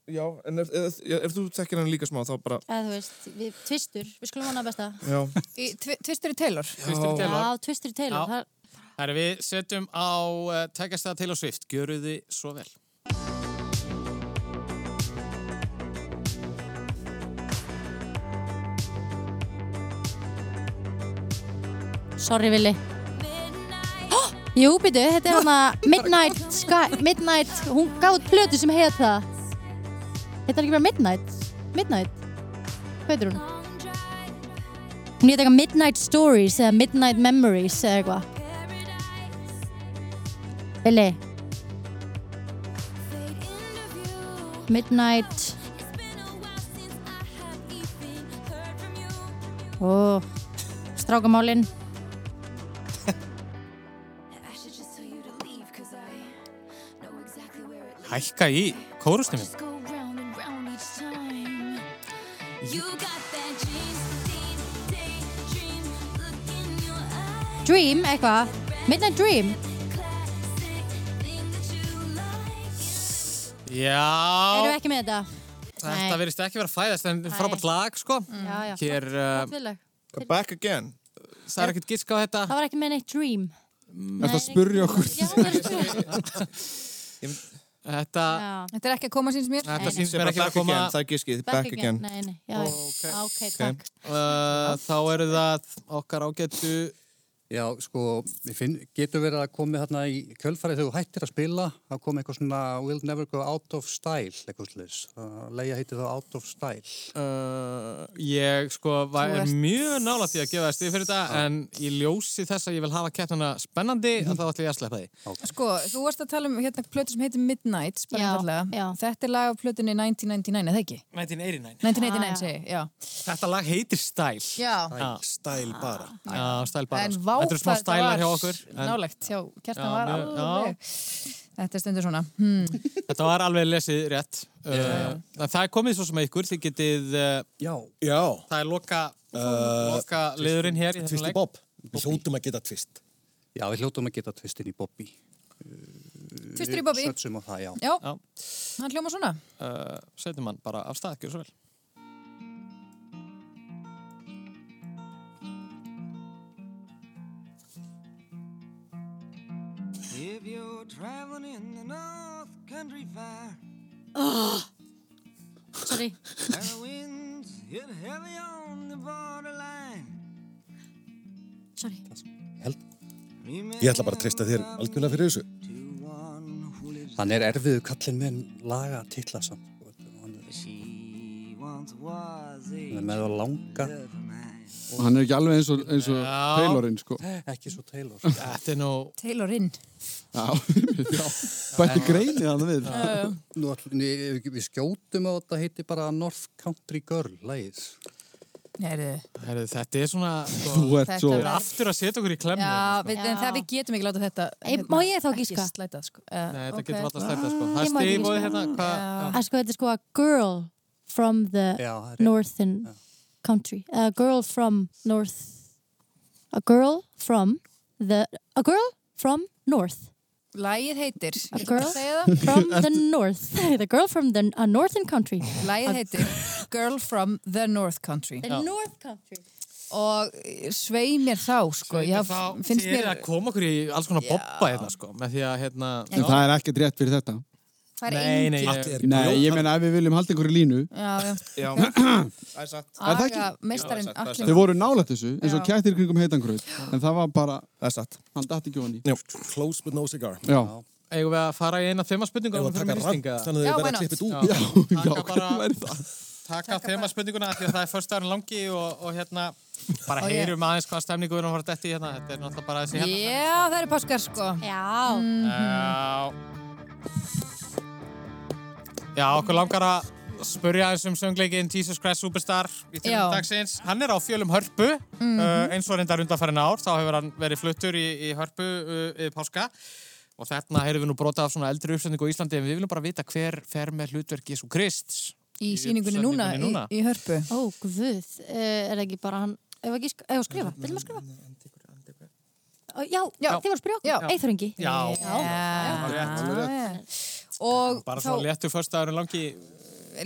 Speaker 6: Já, en ef, ef, ef, ef þú tekir hann líka smá, þá bara,
Speaker 4: Eða þú veist, við tvistur, við skulum vona að besta.
Speaker 6: já.
Speaker 2: Í tvi- Tvistur í Taylor.
Speaker 1: Tvistur í Taylor.
Speaker 4: Já, tvistur í Taylor.
Speaker 1: Já.
Speaker 4: það-
Speaker 1: Herru, við setjum á uh, tekjast það til og svift. Gjöru þið svo vel.
Speaker 4: Sorry, Vili. Hó! Jú, býtu, þetta er hana Midnight Sky, Midnight, hún gaf út plötu sem heit það. Þetta er ekki bara Midnight, Midnight, hvað heitir hún? Hún heit eitthvað Midnight Stories eða Midnight Memories eða eitthvað. Vili. Midnight, ó, strákamálinn.
Speaker 1: Hækka í kórusnum.
Speaker 4: Dream, eitthvað Midnight Dream Erum við
Speaker 1: Já,
Speaker 4: ekki með þetta?
Speaker 1: þetta
Speaker 4: Nei.
Speaker 1: verðist ekki vera að fæðast, en frábært lag, sko.
Speaker 4: Já, já
Speaker 1: Hér, uh,
Speaker 4: Gott viðlag.
Speaker 6: Back again.
Speaker 1: það er ekkert giska á þetta.
Speaker 4: Það var ekki með neitt Dream
Speaker 3: Þetta að spurja okkur.
Speaker 4: Já, það er svo
Speaker 1: Þetta,
Speaker 4: Já.
Speaker 2: Þetta er ekki að koma síns mér.
Speaker 1: þetta
Speaker 4: Nei,
Speaker 1: síns
Speaker 6: Sem
Speaker 1: mér
Speaker 6: bara
Speaker 1: ekki
Speaker 6: back
Speaker 1: að koma.
Speaker 6: again, það er giskið, back again.
Speaker 4: Nei, nei, já, já, ok, takk
Speaker 1: Uh, þá eru það okkar ágættu
Speaker 7: Já, sko, ég finn, getur verið að komið hérna í kjölfarið þegar þú hættir að spila að komið eitthvað svona We'll Never Go Out of Style, eitthvað sliðis. Leia heitir það Out of Style.
Speaker 1: Uh, ég sko var
Speaker 7: Þú ert-
Speaker 1: mjög nálægt í að gefa stið fyrir þetta en í ljósi þess að ég vil hafa keppnuna spennandi
Speaker 2: Mhm.
Speaker 1: að þá ætla ég að sleppa því
Speaker 2: Sko, þú varst að tala um hérna plötu sem heitir Midnight, bara einfallega. Þetta er lag af plötunni 1999, eða ekki?
Speaker 1: 1989
Speaker 2: 1999, segi, ég, já.
Speaker 1: Þetta lag heitir Style
Speaker 2: Já.
Speaker 1: Style bara Já, Style bara
Speaker 2: En
Speaker 1: sko.
Speaker 2: vá,
Speaker 1: Þetta eru smá
Speaker 2: hvað þetta
Speaker 1: stælar
Speaker 2: var
Speaker 1: hjá okkur en
Speaker 2: Nálægt, já, kjartan
Speaker 1: Já,
Speaker 2: var
Speaker 1: mjög- já.
Speaker 2: alveg. Þetta stundur svona. Hmm.
Speaker 1: Þetta var alveg lesið rétt uh, en Það er komið svo sem að ykkur þið getið uh,
Speaker 7: Já.
Speaker 5: Já
Speaker 1: Það er loka,
Speaker 2: Eh,
Speaker 1: loka liðurinn hér í þessum
Speaker 5: Tvisti
Speaker 1: leik
Speaker 5: Bob Við hljótum að geta tvist
Speaker 7: Já, við hljótum að geta tvistin í Bobby.
Speaker 2: Tvistur í Bobby.
Speaker 7: Svetsum á það, já.
Speaker 2: Já, hann hljóma svona.
Speaker 1: uh, Sveitum hann bara af stað, gjör svo vel
Speaker 11: If you're traveling in the North Country Fair,
Speaker 4: Oh. Sorry.
Speaker 11: and the winds hit heavy on the borderline.
Speaker 4: Sorry.
Speaker 5: Ég ætla bara að treysta þér algjörlega fyrir þessu
Speaker 7: Hann er erfiðu kallinn minn laga að titla samt. sko.
Speaker 11: She once was a
Speaker 7: Hann er með að langa.
Speaker 3: Og hann er ekki alveg eins og, eins og
Speaker 7: Já.
Speaker 3: Taylorinn, sko.
Speaker 7: Ekki svo Taylor.
Speaker 1: Þetta er nú...
Speaker 2: Taylorinn.
Speaker 3: Já, bætti greinið hann við.
Speaker 7: Nú, ætlum- við, við skjótum á þetta heiti bara North Country Girl, lagið.
Speaker 2: Heyrðu.
Speaker 1: Herðu, þetta er svona sko,
Speaker 7: Þú ert
Speaker 2: Þetta svo-
Speaker 1: Þið eruð aftur að setja okkur í klemmu
Speaker 2: Já, við, en
Speaker 4: Já.
Speaker 2: það við getum ekki láta þetta
Speaker 4: Ei,
Speaker 2: hérna,
Speaker 4: má ég þá
Speaker 2: ekki
Speaker 4: giska?
Speaker 2: slæta, sko.
Speaker 1: Nei,
Speaker 2: Uh,
Speaker 1: þetta getur alltaf sleppt sko. Það er
Speaker 4: Ég má ekki
Speaker 1: stíf og
Speaker 4: giska.
Speaker 1: hérna hvað-
Speaker 4: að sko þetta er sko a girl from the
Speaker 1: Já, það er rétt.
Speaker 4: northern country a girl from north a girl from the a girl from north
Speaker 2: Lægið heitir,
Speaker 4: a girl
Speaker 2: segja það?
Speaker 4: from the north the girl from the a northern country
Speaker 2: Lægið heitir Girl from the North Country.
Speaker 4: the north country
Speaker 2: Og eh, svei mér þá, sko. Svei mér þá, finnst
Speaker 1: Þið eruð
Speaker 2: mér...
Speaker 1: að koma okkur í alls konar bobba hérna sko, með því að hérna
Speaker 3: En það er ekkert rétt fyrir þetta.
Speaker 2: Það er
Speaker 1: Nei, nei,
Speaker 2: engin...
Speaker 1: ég-
Speaker 3: Nei, ég meina ef við viljum halda einhverju línu.
Speaker 2: Já,
Speaker 6: já.
Speaker 2: Það
Speaker 6: er satt.
Speaker 3: Er það ekki?
Speaker 2: Aga, meistarinn,
Speaker 3: Þau
Speaker 2: allir.
Speaker 3: voru nálægt þessu, eins og kættir kringum heitangröð. En það var bara...
Speaker 6: Það er satt.
Speaker 3: Hann dætti ekki ofan í.
Speaker 5: Já, close but no cigar
Speaker 3: Já.
Speaker 1: Eigum við að fara í eina þemaspurningu um
Speaker 5: Eigum við að taka rant, þannig að þau Já, verða why not? klippit út? Já,
Speaker 1: já,
Speaker 5: já,
Speaker 1: hvernig
Speaker 3: væri það?
Speaker 1: Taka þemaspurninguna því að það er förstu árin langi og, og hérna bara
Speaker 2: Og ég-
Speaker 1: heyrum aðeins hvað stemningu við erum að fara detti hérna Þetta er náttúrulega bara þessi hérna
Speaker 2: Já, það eru páskar, sko.
Speaker 4: Já.
Speaker 1: Já Já, okkur langar að spurja aðeins um söngleikin Jesus Christ Superstar í
Speaker 2: Já.
Speaker 1: tilum dagsins. Hann er á fjölum Hörpu
Speaker 2: Mhm.
Speaker 1: uh, eins og reyndar undanfærin ár þá hefur hann verið fluttur í, í Hörpu uh, í páska og þarna hefur við nú brotað af svona eldri uppsetningu á Íslandi en við viljum bara vita hver fer með hlutverk Jésu Krist
Speaker 2: Í sýningunni núna,
Speaker 1: sýningunni
Speaker 2: í,
Speaker 1: núna.
Speaker 2: í hörpu.
Speaker 4: ó guð uh, er það ekki bara hann ef ekki sk- eigum við að skrifa viljum að skrifa Ó, já, já, þið voru að spyrja okkur Eithringi
Speaker 1: Já,
Speaker 4: Já.
Speaker 1: Rétt.
Speaker 2: Og
Speaker 1: Bara
Speaker 2: þá
Speaker 1: svona léttur förstaðurinn langi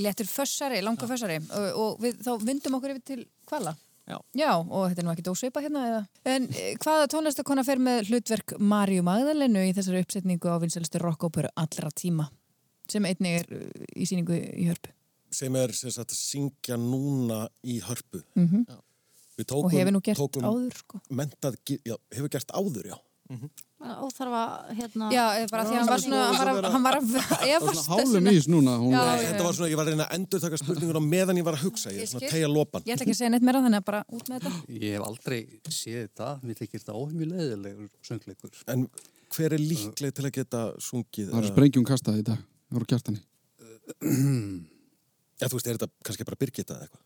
Speaker 2: léttur fössari, langa fössari og, og við, þá vindum okkur yfir til hvala.
Speaker 1: Já.
Speaker 2: og þetta er nú ekki dósveipa hérna eða. En eh, hvaða tónlistakona fer með hlutverk Maríu Magdalenu í þessari uppsetningu á vinsælustu rockóperu allra tíma sem einnig er eh, í síningu í hörpu
Speaker 5: sem er sem sagt, að syngja núna í hörpu
Speaker 2: Mhm.
Speaker 5: Við tókum,
Speaker 2: Og hefur nú gert
Speaker 5: tókum
Speaker 2: áður, sko.
Speaker 5: mentað, gi- já, hefur gert áður, já
Speaker 4: óþarfa hérna
Speaker 2: Já, eh, bara því hann var svona, hann var að, hann var að efast
Speaker 3: Hálum ís núna. Hún...
Speaker 2: Já,
Speaker 5: Nei,
Speaker 2: já,
Speaker 5: Þetta
Speaker 2: já.
Speaker 5: var svona, ég var að reyna að endur taka spurninguna meðan ég var að hugsa, ég er svona að tegja lopan
Speaker 2: Ég ætla ekki að segja neitt meira þannig að bara út með þetta
Speaker 7: Ég hef aldrei séð þetta. Mér þykir þetta óhemju leiðilegur söngleikur.
Speaker 5: En hver er líkleg til að geta sungið?
Speaker 3: Það eru sprengjum um kastað í dag. Það voru kjartani.
Speaker 5: Já, þú veist, er þetta kannski bara Birgitta eða eitthvað?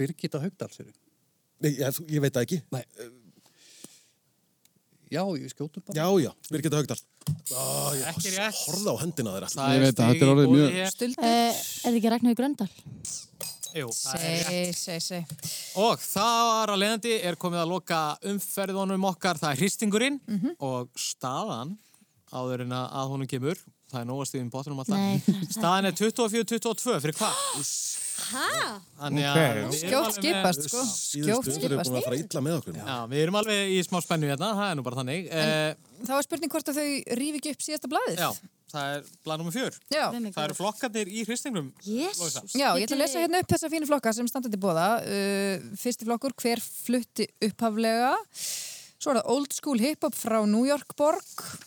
Speaker 7: Birgitta Haugdal, sér við.
Speaker 5: Nei, ég, þú- ég veit það ekki
Speaker 7: Nei. Já, ég skjótu bara.
Speaker 5: Já, já, Birgitta Haugdal Ó, ég
Speaker 1: Ekki rétt.
Speaker 5: horfða á hendina þeirra
Speaker 1: Það Ég er veit það, stig þetta er í orðið boði mjög- hér. Stuldur.
Speaker 4: Eh, er það ekki Ragnar Gröndal
Speaker 1: Jú, það er rétt.
Speaker 2: Seg, seg, seg
Speaker 1: Og þar að leiðandi er komið að loka umferðunum okkar, það er hristingurinn
Speaker 2: Mhm.
Speaker 1: og staðan áður en að að honum kemur, það er nógast yfir bóttunum
Speaker 4: Nei,
Speaker 1: alltaf. Staðan er 24-22 fyrir hvað?
Speaker 4: hæ?
Speaker 1: Þannig að
Speaker 5: Ok.
Speaker 1: við erum
Speaker 2: Skjótt
Speaker 1: alveg með-
Speaker 2: skipast, sko. Skjótt
Speaker 5: Síðustu umferð er búin að fara
Speaker 2: skipast.
Speaker 5: illa með okkur
Speaker 1: Já, við erum alveg í smá spennu hérna, það er nú bara þannig. Eh,
Speaker 2: Þá er spurning hvort að þau rífi ekki upp síðasta blaðið
Speaker 1: já, það er blað nummer fjör.
Speaker 2: Já.
Speaker 1: Það eru flokkarnir í hristingnum.
Speaker 4: Jésus.
Speaker 2: Já, ég ætla að lesa hérna upp þessa fínu flokka sem standa til bóða. Uh, fyrsti flokkur, hver flutti upphaflega? Svo er það old school hip-hop frá New York borg.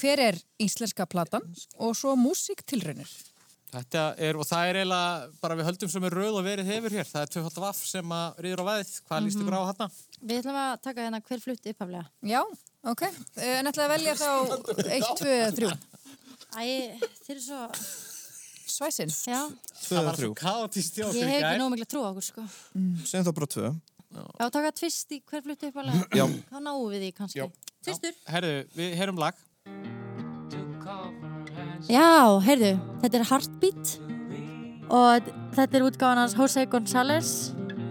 Speaker 2: Hver er íslenska platan? Og svo músíktilraunir.
Speaker 1: Þetta er, og það er eiginlega bara við höldum sem er röð og verið hefur hér. Það er 2.5 vaff sem að rýður á veðið. Hvað líst ykkur á hann?
Speaker 4: Við ætlum að taka hérna hver flutt upphaflega.
Speaker 2: Já, ok. Eh, En ætlaði að velja þá 1, 2, 3.
Speaker 4: Æ, þeir eru svo...
Speaker 2: Svæsinn?
Speaker 4: Já,
Speaker 1: Það var svo kaotist hjá
Speaker 4: ég hef ekki nóg mikla trú á okkur, sko.
Speaker 6: Segjum þá bara tvö.
Speaker 4: Já, taka tvist í hver flutt upphaflega.
Speaker 6: Já.
Speaker 4: Þá náum við því kannski. Já. Tvistur.
Speaker 1: Herðu, við heyrum lag.
Speaker 4: Já, heyrðu, þetta er Heartbeat og þetta er útgáðan hans Jose González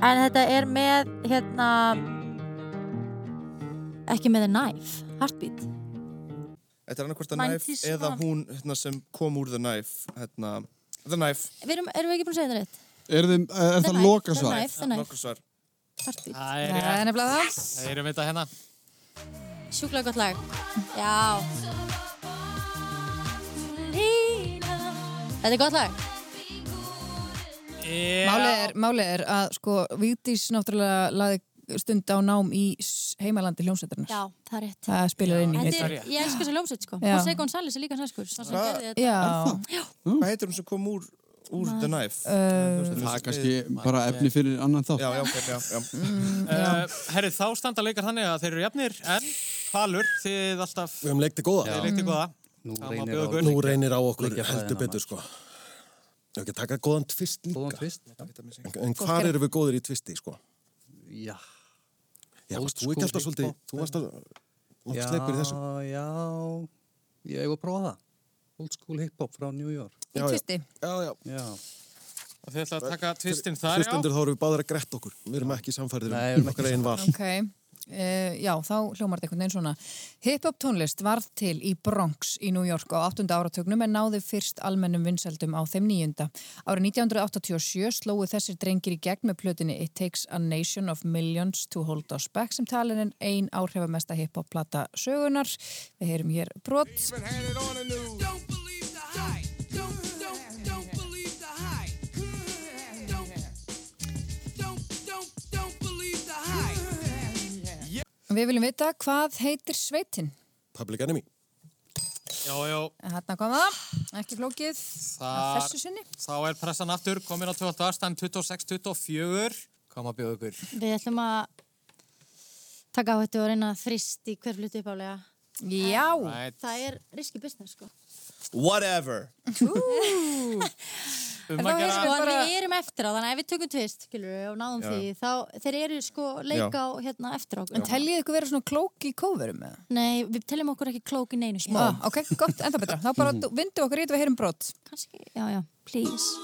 Speaker 4: en þetta er með hérna ekki með The Knife, Heartbeat
Speaker 6: Þetta er annarkvort að
Speaker 4: 90s
Speaker 6: Knife eða
Speaker 4: svona.
Speaker 6: hún hérna, sem kom úr The Knife. Hérna, the Knife.
Speaker 4: Við erum, erum við ekki búin að segja þetta rétt?
Speaker 3: Er, þið, er
Speaker 4: The
Speaker 3: það
Speaker 4: Knife,
Speaker 3: lokasvar?
Speaker 4: The Knife, The Knife.
Speaker 6: Lokasvar.
Speaker 4: Heartbeat
Speaker 1: Það
Speaker 2: Það er nefnilega það.
Speaker 1: Það heyrum þetta hérna.
Speaker 4: Sjúklega gott lag Já Þetta er gott lag
Speaker 2: Málið er, málið er að sko Vigdís náttúrulega laði stund á nám í s- heimalandi hljómsveitarnar.
Speaker 4: Já, það er rétt
Speaker 2: Það spilar inn í
Speaker 4: Þetta er,
Speaker 2: heitir.
Speaker 4: ég elska þess að ljómsveit sko
Speaker 2: Já.
Speaker 4: Jose González er líka sænskur sá sem
Speaker 6: Hvað?
Speaker 4: gerði þetta.
Speaker 2: Já,
Speaker 6: Hvað heitir hún sem kom úr, úr The Knife?
Speaker 3: Það er kannski bara efni fyrir annan þátt.
Speaker 6: Já, já, ok, já, já.
Speaker 1: Uh, herru, þá standa leikar þannig að þeir eru jafnir, en Hvalur, þið alltaf,
Speaker 5: Við hefum leikt í góða.
Speaker 1: þið leikti góða.
Speaker 7: Nú
Speaker 1: Það má
Speaker 7: reynir
Speaker 1: bjóða
Speaker 7: á
Speaker 1: Gunni.
Speaker 5: Nú reynir á okkur
Speaker 7: Leikja fræðina,
Speaker 5: heldur betur, sko. Ég ekki að taka góðan tvist líka.
Speaker 7: góðan tvist.
Speaker 5: En, en hvar eru við góðir í tvisti, sko?
Speaker 7: Já.
Speaker 5: Já,
Speaker 7: Old
Speaker 5: varst þú ekki
Speaker 7: school
Speaker 5: alltaf svolítið,
Speaker 7: hip-hop.
Speaker 5: þú varst að landsleikur í þessu.
Speaker 7: Já, já, ég hef að prófa það. Old school hip-hop frá New York.
Speaker 2: í tvisti.
Speaker 5: Já, já.
Speaker 7: Já.
Speaker 1: Og þið ætlaðu að taka tvistinn þar,
Speaker 5: Hlustendur þá eru við báðir að grett okkur. Við erum ekki samfærið
Speaker 7: Nei,
Speaker 5: um
Speaker 7: við erum ekki
Speaker 5: okkar einn val.
Speaker 2: Ok, uh, já, þá hljómar þetta einhvern veginn svona. Hip-hop tónlist varð til í Bronx í New York á 8. áratögnum en náði fyrst almennum vinsældum á þeim nýjunda. Árið 1987 slóðu þessir drengir í gegn með plötinni It Takes a Nation of Millions to Hold Us Back sem talin en ein áhrifamesta hip-hop-plata sögunar. Við heyrum hér brot. Við viljum vita hvað heitir sveitin.
Speaker 5: Public Enemy.
Speaker 1: já, já,
Speaker 2: Hanna kom það, ekki flókið að
Speaker 1: Þar-
Speaker 2: þessu sinni.
Speaker 1: þá er pressan aftur, komin á 12. ástan 26-24, koma að bjóða ykkur.
Speaker 4: Við ætlum að taka á þetta og reyna að þrist í hver flutt uppálega.
Speaker 2: Já,
Speaker 1: Right.
Speaker 4: Það er riski business sko.
Speaker 6: Whatever.
Speaker 1: Um
Speaker 2: þá
Speaker 1: að
Speaker 2: heyrum
Speaker 1: gera,
Speaker 4: Sko, en
Speaker 2: bara-
Speaker 4: við erum eftir á, þannig að ef við tökum tvist, skilur við, og náðum því, þá þeir eru sko leika á hérna eftir okkur.
Speaker 2: en teljið ykkur vera svona klók í kóverum með það?
Speaker 4: Nei, við teljum okkur ekki klók í neinu sko. smá.
Speaker 2: Ah, ok, gott, ennþá betra. Þá bara vindu okkur í þetta við heyrum brot.
Speaker 4: Kanski, já, já, please.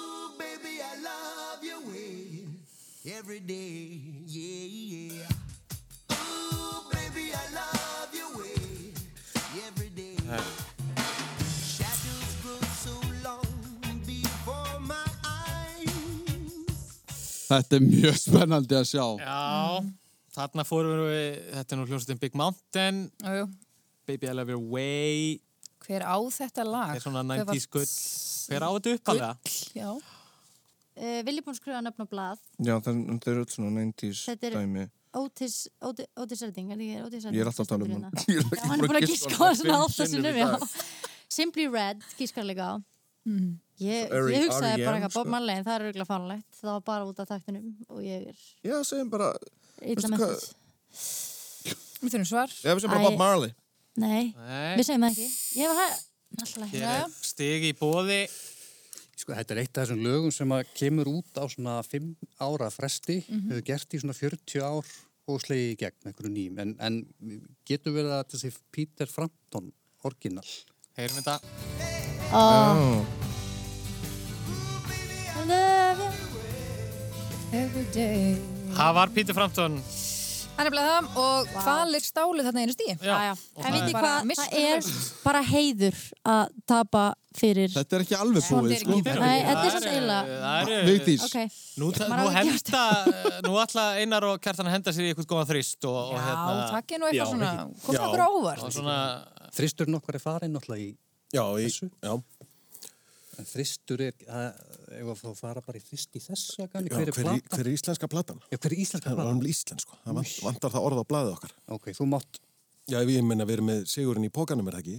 Speaker 3: Þetta er mjög spennandi að sjá.
Speaker 4: Mm.
Speaker 1: já, þarna fórum við, þetta er nú hljómsveitin Big Mountain,
Speaker 2: Jú.
Speaker 1: Baby I Love Your Way,
Speaker 2: Hver á þetta lag?
Speaker 1: er svona
Speaker 2: Hver var-
Speaker 1: 90s gull. Hver á þetta uppalega?
Speaker 2: Já.
Speaker 4: Uh, Vilji búin að skrifa nöfn og blað.
Speaker 6: Já, það það eru öll svona 90s
Speaker 4: Þetta er-
Speaker 6: dæmi.
Speaker 4: Ótis, Ótis, Ótis Erding, er ég Ótis Erding?
Speaker 6: Ég er alltaf að tala um
Speaker 4: Stendur
Speaker 6: hann.
Speaker 4: hérna.
Speaker 6: Ég er
Speaker 4: Já, hann er búin að gíska á svona alltaf sinnum, já. Simply Red, gískar líka á. Ég,
Speaker 6: So,
Speaker 4: ég hugsaði
Speaker 6: R.E.M.,
Speaker 4: bara eitthvað, Bob
Speaker 6: sko.
Speaker 4: Marley, en það er auðvitað fánlegt. Það var bara út af taktunum og ég er
Speaker 6: Já, segjum bara,
Speaker 4: illa
Speaker 6: Veistu
Speaker 4: með
Speaker 6: hvað-
Speaker 2: Við þurfum svar.
Speaker 6: já, við segjum bara
Speaker 4: Æ.
Speaker 6: Bob Marley.
Speaker 4: Nei,
Speaker 1: Nei,
Speaker 4: við segjum það ekki. Ég var það, alltaf
Speaker 1: hér
Speaker 4: ekki.
Speaker 1: er stig í bóði.
Speaker 7: Sko, þetta er eitt af þessum lögum sem að kemur út á svona 5 ára fresti, hefur gert í svona 40 ár og slegið í gegn með einhverju nýjum, en, en getur verið að þessi Peter Frampton orginal.
Speaker 1: Heyrum þetta.
Speaker 4: Oh.
Speaker 6: Já.
Speaker 2: Every day.
Speaker 1: Það var Pítur Frampton.
Speaker 2: Það er nefnilega það og wow. hvalir stálu þarna einu stíi.
Speaker 1: Já,
Speaker 4: Já, já.
Speaker 1: og
Speaker 4: En
Speaker 1: það
Speaker 4: veitir
Speaker 2: er-
Speaker 4: hvað,
Speaker 2: Bara
Speaker 4: það er bara heiður að tapa fyrir
Speaker 3: Þetta er ekki alveg búið, sko.
Speaker 1: er-
Speaker 4: Nei, þetta er
Speaker 1: það
Speaker 4: samt eiginlega-
Speaker 1: Það eru...
Speaker 3: Vigdís,
Speaker 4: Ok,
Speaker 1: Nú, ta-
Speaker 4: Maður
Speaker 1: nú
Speaker 4: hafði ekki
Speaker 1: henda, nú ætla Einar og Kjartan að henda sér í eitthvað góðan þrist og, og
Speaker 2: Já,
Speaker 1: hérna
Speaker 2: takk ég nú eitthvað
Speaker 5: Já,
Speaker 2: svona, komst okkur á óvart.
Speaker 1: og svona,
Speaker 7: Þristurinn okkar er farin náttúrulega í
Speaker 5: Já, í,
Speaker 7: Þessu?
Speaker 5: já.
Speaker 7: En þristur er, ef að fara bara í þrist í þessu, hver
Speaker 5: Já,
Speaker 7: er
Speaker 5: hver, í-
Speaker 7: platan?
Speaker 5: hver er íslenska platan?
Speaker 7: Já, hver er íslenska
Speaker 5: platan? Það var um íslensk, sko. Það vant- vantar það orða á blaðið okkar.
Speaker 7: Ok, þú mátt...
Speaker 5: Já, ef ég minna að vera með sigurinn í pókanum er það ekki.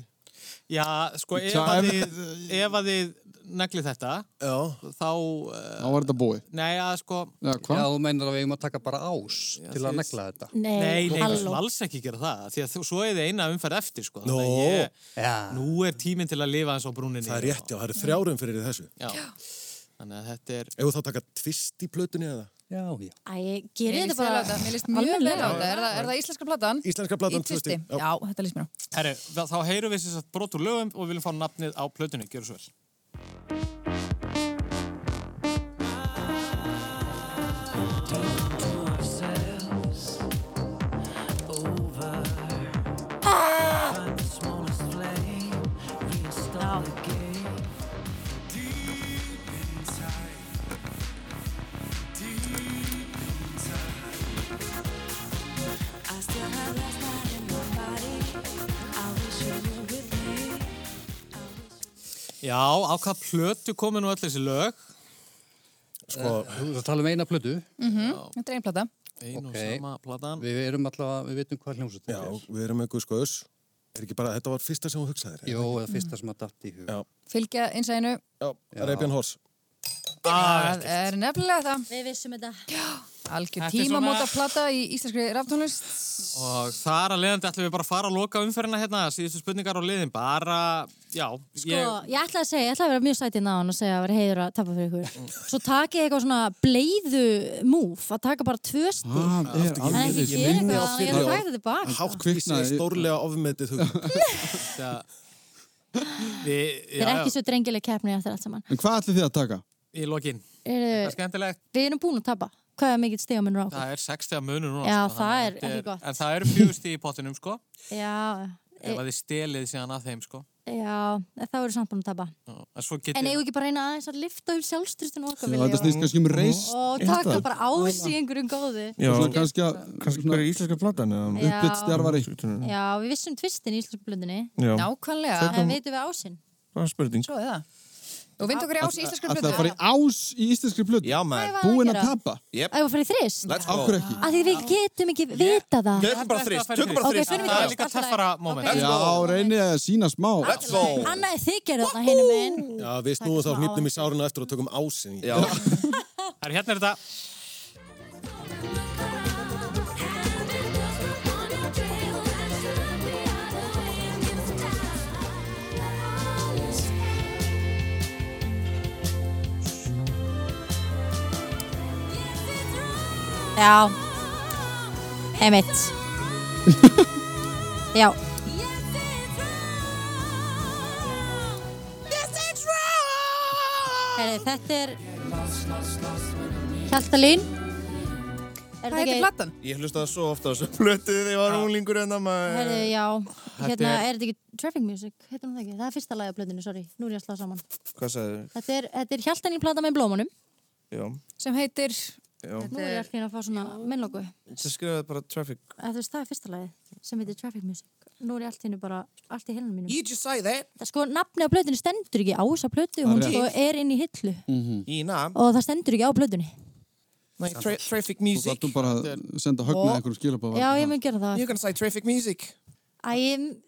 Speaker 1: Já, sko, ef
Speaker 5: Já,
Speaker 1: að
Speaker 5: ef-
Speaker 1: þið, ef að þið neglið þetta,
Speaker 5: Já.
Speaker 1: þá... eh,
Speaker 3: Þá er þetta búið.
Speaker 1: Nei, að sko...
Speaker 3: Já,
Speaker 7: Já, þú meinar að við eigum að taka bara ás til að
Speaker 1: þið-
Speaker 7: negla þetta.
Speaker 1: Nei, nei, við
Speaker 7: halló.
Speaker 1: skulum alls ekki gera það, því að þú- svo er þið eina umferð eftir, sko.
Speaker 5: Nó.
Speaker 1: Þannig að ég,
Speaker 7: Já.
Speaker 1: nú er tíminn til að lifa eins á brúninni.
Speaker 5: Það er rétt, já, það eru þrjárum fyrir þessu.
Speaker 1: Já. Þannig að þetta er...
Speaker 5: Ef þú þá taka tvist í plötunni eða?
Speaker 7: Já, já.
Speaker 4: Æ, gerir þetta bara
Speaker 2: Mér líst mjög vel á þetta. Er það, er það íslenska platan?
Speaker 5: Íslenska
Speaker 1: platan,
Speaker 2: Í tvisti.
Speaker 1: tvö stig, já.
Speaker 2: Já, þetta líst mér á.
Speaker 1: Herru, þá þá heyrum við sér satt brot úr lögum og við viljum fá nafnið á plötunni, gjör svo vel. Já, á hvað plötu komi nú öll þessi lög?
Speaker 5: Sko,
Speaker 7: Þú ert að tala um eina plötu.
Speaker 2: Þetta er einn plata.
Speaker 1: Einu
Speaker 7: Ok.
Speaker 1: okay. sama platan.
Speaker 7: Við erum alltaf, við veitum hvað hljómsveit
Speaker 5: Já, við erum með Guðsko Öss. Er ekki bara, þetta var fyrsta sem þú hugsaðir?
Speaker 7: Jó, eða fyrsta sem að datt í hug.
Speaker 5: Já,
Speaker 2: Fylgja einsæðinu.
Speaker 5: já. Rebjörn Hors.
Speaker 1: Ah,
Speaker 2: Það er nefnilega það.
Speaker 4: Við vissum þetta.
Speaker 2: Algjör
Speaker 1: Þetta er
Speaker 2: tímamóta plata í íslenskri raftónlist.
Speaker 1: Og þar að leiðandi ætlum við bara að fara að loka umferðina hérna, síðustu spurningar á liðin, bara, já,
Speaker 4: Sko, ég... ætlaði að segja, ég ætlaði að vera mjög sætið náðan og segja að vera heiður að tapa fyrir
Speaker 1: Mm.
Speaker 4: ykkur. Svo takið eitthvað svona bleiðu múf, að taka bara tvö stíl.
Speaker 3: Ah,
Speaker 4: en
Speaker 3: er
Speaker 4: ekki
Speaker 3: alveg-
Speaker 4: gera eitthvað, ég er að taka þetta tilbaka.
Speaker 5: Hátt kviknaði. Stórlega ofmetið hug.
Speaker 1: við, já,
Speaker 4: Þetta er ekki svo drengileg keppni eftir allt saman.
Speaker 3: En hvað ætlið þið að taka?
Speaker 1: já, í lokin. Það er
Speaker 4: Eru,
Speaker 1: skemmtilegt.
Speaker 4: við erum búin að tapa. Hvað er mikill stegamunur á okkur?
Speaker 1: Það er 60 munur núna.
Speaker 4: Já,
Speaker 1: sko, þannig
Speaker 4: það
Speaker 1: að
Speaker 4: er
Speaker 1: þetta
Speaker 4: ekki gott.
Speaker 1: En það eru fjögusti í pottinum, sko,
Speaker 4: Já,
Speaker 1: ef að þið stelið síðan að þeim, sko.
Speaker 4: já, það eru samt búin að tapa.
Speaker 1: Já, En svo
Speaker 4: En
Speaker 1: getið...
Speaker 4: eigum við ekki bara að reyna aðeins að lifta upp sjálfstrustun okkar
Speaker 3: Já, þetta snýst kannski um reist.
Speaker 4: Og taka bara á sig einhverjum góðu.
Speaker 3: Já, svona kannski að
Speaker 6: Kannski bara í íslenska platan
Speaker 4: Já.
Speaker 3: uppbytt stjarfari.
Speaker 4: Já, við vissum tvistin í Íslandsku blöndinni.
Speaker 6: Já.
Speaker 2: Nákvæmlega.
Speaker 4: En veitum við ásinn?
Speaker 6: Það er spurning.
Speaker 2: Svo er það. Og vind okkur í ás í íslenskri
Speaker 3: Ætlið að
Speaker 2: plötu.
Speaker 3: fara í ás í íslenskri plötu?
Speaker 6: Já, maður.
Speaker 3: Búin
Speaker 4: Hvað á
Speaker 3: að
Speaker 4: að
Speaker 3: tapa?
Speaker 6: Yep.
Speaker 4: Ægum að fara í þrist?
Speaker 6: Let's
Speaker 3: Af
Speaker 6: go.
Speaker 3: hverju ekki?
Speaker 4: Af því við getum ekki vita það.
Speaker 6: Tökum bara þrist, tökum bara
Speaker 4: Ok,
Speaker 6: þrist.
Speaker 4: förum í
Speaker 1: Það er
Speaker 4: þrist,
Speaker 1: líka
Speaker 4: allt í lagi.
Speaker 1: töffara moment.
Speaker 4: Ok.
Speaker 3: Já, reynið að sína smá.
Speaker 6: Let's go.
Speaker 4: Anna er þykir þarna hinum minn.
Speaker 5: Já, við snúum þá
Speaker 4: smá
Speaker 5: hnýtnum í sáruna eftir og tökum ásinn. í.
Speaker 6: Já.
Speaker 1: Það er hérna er þetta.
Speaker 4: Já. Emitt. Já. Herri, þetta er Hjaltalín Er
Speaker 2: Hvað
Speaker 4: þetta
Speaker 2: heitir
Speaker 4: ekki
Speaker 2: platan?
Speaker 6: Ég hlustaði svo ofta á þessu plötu þegar ég var unglingur en það maður...
Speaker 4: Herri, já, hérna,
Speaker 1: er-
Speaker 4: er þetta ekki Traffic Music, heitum það ekki, það er fyrsta lagi á blöðinu, sorry, nú er ég að slá saman
Speaker 6: Hvað sagði þau?
Speaker 4: Þetta er, þetta er Hjaltalín plata með blómunum
Speaker 6: Já.
Speaker 2: Sem heitir...
Speaker 6: Já.
Speaker 4: Nú er ég alltaf að fá svona minnlóku
Speaker 6: Þið skrifaði bara traffic.
Speaker 4: Þú veist, það er fyrsta lagi sem heitir Traffic Music Nú er ég alltaf bara, allt í heilanum mínum
Speaker 6: just say that.
Speaker 4: Það sko, nafni á blöðinu stendur ekki á þessa blöðu, hún
Speaker 3: Það er Mm.
Speaker 4: sko er inn í hillu
Speaker 6: Mm. Ína.
Speaker 4: og það stendur ekki á blöðinu
Speaker 6: Like tra traffic
Speaker 3: Þú þarfum bara að senda högna einhverjum skilabáð.
Speaker 4: Já, ég mun gera það
Speaker 6: gonna say traffic music.
Speaker 4: Æ,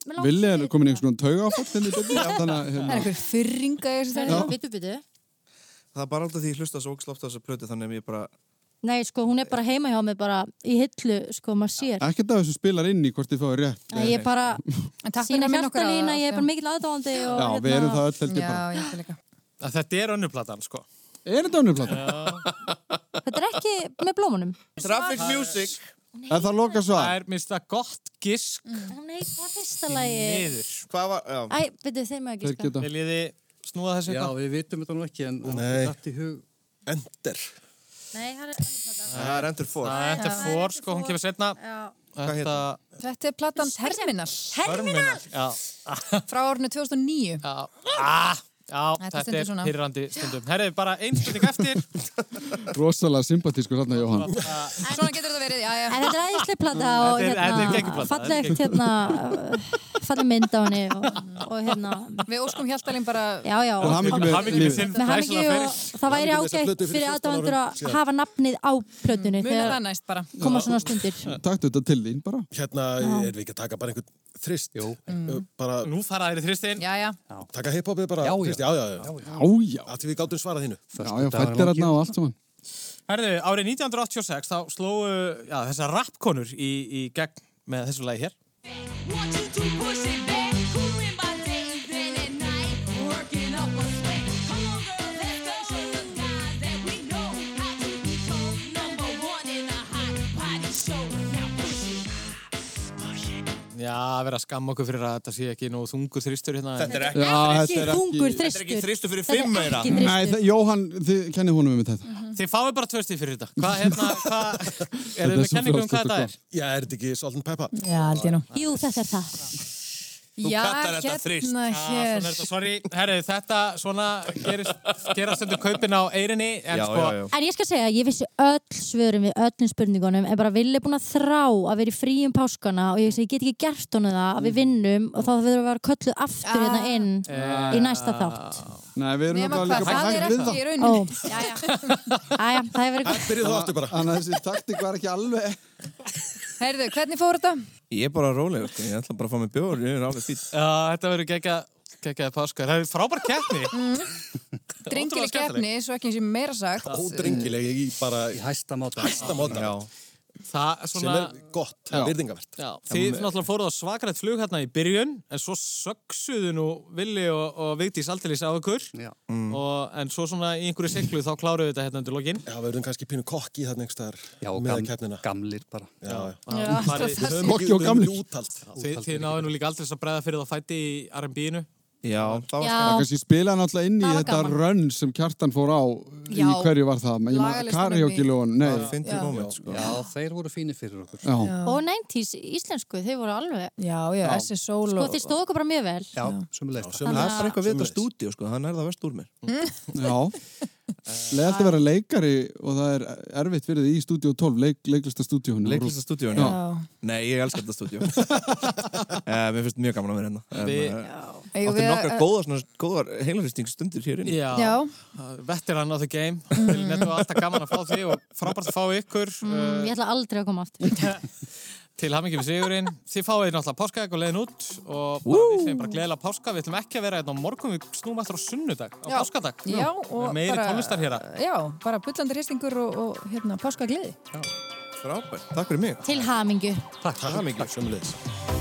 Speaker 4: mér langar
Speaker 3: Vili er
Speaker 4: til-
Speaker 3: komin í einhvers konar tauga áfólk þenni byrni. Þannig að
Speaker 2: Það er
Speaker 3: hérna,
Speaker 2: einhver fyrringa í þessu
Speaker 4: Herri,
Speaker 2: þærni.
Speaker 4: Bitu, bitu
Speaker 6: Það er bara alltaf því ég hlusta svo ógslátt á þessu plötu þannig að ég bara...
Speaker 4: Nei, sko, hún er bara heima hjá mig bara í hillu, sko, maður sér
Speaker 3: ekkert af þessu spilar inn í hvort þið fáið rétt.
Speaker 4: Nei, ég bara
Speaker 2: En takk fyrir
Speaker 4: sína
Speaker 2: að minna okkur á
Speaker 4: hjartalína, ég er bara
Speaker 2: Já.
Speaker 4: mikill aðdáðandi og hérna,
Speaker 3: Já, við erum það öll heldur
Speaker 2: hérna, Já,
Speaker 3: bara.
Speaker 2: ég held líka.
Speaker 1: Að Þetta er önnuplatan, sko.
Speaker 3: Er þetta önnur plata?
Speaker 4: Þetta er ekki með blómunum.
Speaker 6: Traffic music.
Speaker 3: Er það loka
Speaker 1: Það
Speaker 3: svar?
Speaker 1: er mista gott gisk
Speaker 4: Nei, það er fyrsta lagi.
Speaker 1: niður.
Speaker 6: Hvað var... Já.
Speaker 4: Æ, veitu, þeir maður
Speaker 3: Þeir
Speaker 4: ekki sko.
Speaker 3: geta.
Speaker 1: Viljið þið snúa þessu
Speaker 7: Já,
Speaker 1: eitthvað?
Speaker 7: við vitum þetta nú ekki, en en
Speaker 5: Nei.
Speaker 7: datt í hug.
Speaker 5: Ender.
Speaker 4: Nei, það er önnur plata.
Speaker 6: Það er endur fór.
Speaker 1: Það er
Speaker 4: Já.
Speaker 1: þetta fór, sko, hún kemur setna.
Speaker 4: Já.
Speaker 1: Þetta
Speaker 2: Þetta er platan Terminal
Speaker 1: Terminal. Já,
Speaker 2: frá árinu 2009.
Speaker 1: já, ah, já,
Speaker 2: Þetta
Speaker 1: þetta
Speaker 2: stendur
Speaker 1: er
Speaker 2: svona.
Speaker 1: pyrrandi stundum. Herrið, bara ein spurning eftir.
Speaker 3: Rosalega sympatískur þarna, Jóhann.
Speaker 2: Svona getur þetta verið, já, já.
Speaker 4: En þetta er æðislega plata og
Speaker 1: Þetta er- þetta er
Speaker 4: hérna,
Speaker 1: geggjuplata,
Speaker 4: fallegt hérna, falleg mynd á henni og, og hérna
Speaker 2: Við óskum Hjaltalín bara
Speaker 4: Já, já.
Speaker 3: Og hamingju með Hamingju með lífið. sinn
Speaker 4: Með hamingju
Speaker 3: glæsilega
Speaker 4: og
Speaker 3: feril.
Speaker 4: það væri
Speaker 3: Hamingju með þessa
Speaker 4: ágætt
Speaker 3: plötu fyrir
Speaker 4: fyrir
Speaker 3: 14
Speaker 4: aðdáendur
Speaker 3: árum
Speaker 4: að
Speaker 5: síðan.
Speaker 4: hafa nafnið á plötunni
Speaker 2: Muna það næst bara.
Speaker 4: koma svona stundir
Speaker 3: Taktu þetta til þín bara
Speaker 5: Hérna
Speaker 4: Já.
Speaker 5: er við ekki að taka bara einhvern þrist Jú bara,
Speaker 1: Nú fara þeirri þristin
Speaker 2: Já, já
Speaker 5: Taka hiphopið bara
Speaker 1: Já, já.
Speaker 5: þrist, já, já, já
Speaker 3: Já, já
Speaker 5: Að því við gáttum svarað þínu
Speaker 3: Já, já, fættir hérna á allt saman
Speaker 1: Herðu, árið 1986 þá slóu já, þessar rappkonur í, í gegn með þessu lagi hér. Já, að vera að skamma okkur fyrir að þetta sé ekki nógu þungur þristur hérna.
Speaker 6: Þetta er ekki-
Speaker 3: Já, þetta er ekki-
Speaker 1: Þetta er ekki þristur fyrir fimm meira.
Speaker 3: Nei, það- Jóhann, þið kennið honum um þetta
Speaker 1: Þið fáið bara tvö stíð fyrir þetta. Hvað, hérna, hvað,
Speaker 3: Þetta
Speaker 1: eru
Speaker 3: er
Speaker 1: þið með
Speaker 3: svo
Speaker 1: kenningu um
Speaker 3: frjálst,
Speaker 1: hvað þetta er?
Speaker 5: Já, er þetta ekki Salt and Peppa?
Speaker 2: Já, held ég nú
Speaker 4: Jú, þetta er það
Speaker 1: Þú
Speaker 2: Já,
Speaker 1: kallar þetta þrist.
Speaker 2: hérna,
Speaker 1: Ah, svona er
Speaker 2: hér
Speaker 1: þetta, sorry, herri, þetta svona gerist, gerast undir kaupin á eirinni, en
Speaker 6: Já,
Speaker 1: sko,
Speaker 6: já, já.
Speaker 4: En ég skal segja, ég vissi öll svörum við öllum spurningunum en bara vilja búin að þrá að vera í fríum páskana og ég, segi, ég get ekki gert honum það
Speaker 3: Mm.
Speaker 4: að við vinnum og þá þurfum við að vera kölluð aftur hérna inn
Speaker 3: Ah.
Speaker 4: í næsta þátt
Speaker 3: Nei, við erum
Speaker 2: Nema
Speaker 3: náttúrulega
Speaker 2: hvað,
Speaker 3: líka bara
Speaker 2: það er
Speaker 3: hægt
Speaker 2: ekki í
Speaker 3: við það
Speaker 4: Ó,
Speaker 2: rauninni Jæja,
Speaker 4: aðja, það hefur verið gott
Speaker 5: Byrjuð þú aftur bara
Speaker 3: Þannig að þessi taktik var ekki alveg
Speaker 2: heyrðu, hvernig fór þetta?
Speaker 6: Ég er bara rólegur, sko. ég ætla bara að fá mig bjóður, ég er alveg fýtt.
Speaker 1: já, þetta verður gegja, gegjaði páskar. Það er frábær keppni.
Speaker 2: Mm. Drengileg
Speaker 1: Ótrúlega
Speaker 2: keppni, svo ekki eins og meira sagt
Speaker 5: Ódrengileg í bara
Speaker 7: Í hæsta máta.
Speaker 5: hæsta móta
Speaker 1: Það er
Speaker 5: sem
Speaker 1: svona,
Speaker 5: er gott, virðingavert
Speaker 1: já, þið náttúrulega fóruð á svakarætt flug hérna í byrjun, en svo söksuðu nú Vili og, og Vigdís aldeilis á ykkur,
Speaker 5: Mm.
Speaker 7: Já.
Speaker 1: og, en svo svona í einhverju siglu þá kláruðu þetta hérna undir lokin.
Speaker 5: Já, við verðum kannski pínu kokki þarna einhvers staðar
Speaker 7: Já,
Speaker 5: með
Speaker 7: gam,
Speaker 5: keppnina
Speaker 7: gamlir bara.
Speaker 5: Já, já.
Speaker 2: Já,
Speaker 1: Farið-
Speaker 2: svo það-
Speaker 3: Kokki og gamlir.
Speaker 5: Útalt
Speaker 1: Þið, þið náðu nú líka aldrei að bregða fyrir þá fætti í R&B-inu.
Speaker 6: Já, það var
Speaker 4: Já,
Speaker 3: Það kannski spilaði náttúrulega inn í
Speaker 4: Það var
Speaker 3: þetta
Speaker 4: gaman.
Speaker 3: rönn sem kjartan fór á í
Speaker 2: Já.
Speaker 3: hverju var það, ég maður
Speaker 2: Lagalistanum í-
Speaker 3: karjókilón Nei,
Speaker 6: það finnst
Speaker 2: Já.
Speaker 6: ég moment, sko.
Speaker 7: Já, þeir voru fínir fyrir okkur.
Speaker 3: já,
Speaker 4: Og 90s íslensku, þau voru alveg
Speaker 2: Já, já, þessi sól
Speaker 4: Sko,
Speaker 2: og
Speaker 4: þeir stóðu okkur bara mjög vel
Speaker 7: Já, sömulegst.
Speaker 6: Það er
Speaker 4: Þannig
Speaker 6: bara
Speaker 4: að-
Speaker 6: eitthvað við þetta stúdíu, sko. þannig er það verst úr mér.
Speaker 3: já Leðalt að vera leikari og það er erfitt fyrir því í stúdíu 12, leik, leiklistastúdíu
Speaker 6: Leiklista stúdíu,
Speaker 2: Já,
Speaker 6: já. Nei, ég elskar þetta stúdíu. Mér finnst mjög gaman að vera hérna.
Speaker 1: Við-
Speaker 6: Eh,
Speaker 2: Eigum
Speaker 6: Áttu
Speaker 2: við
Speaker 6: nokkra
Speaker 2: að-
Speaker 6: góðar, svona, góðar heilarýstingstundir hér inni.
Speaker 1: Já,
Speaker 2: Já. Mm.
Speaker 1: veteran á the game Til netto alltaf gaman að fá því og frábært að fá ykkur
Speaker 4: Mm,
Speaker 3: Eh.
Speaker 1: uh,
Speaker 4: Ég ætla aldrei að koma aftur
Speaker 1: til hamingi við sigurinn Þið fáið náttúrulega páskaegg og leiðin út og bara, við segjum bara gleðilega páska Við ætlum ekki að vera hérna á morgun, við snúum alltaf á sunnudag á
Speaker 2: Já.
Speaker 1: páskadag
Speaker 2: Já,
Speaker 1: Við
Speaker 2: og
Speaker 1: erum meiri
Speaker 2: bara-
Speaker 1: tónlistar hér
Speaker 2: Já, bara bullandi hristingur og, og hérna, páska gleði
Speaker 6: Frábært, takk fyrir mig.
Speaker 4: Til hamingu
Speaker 1: Takk,
Speaker 5: Takk mikið, sömulegis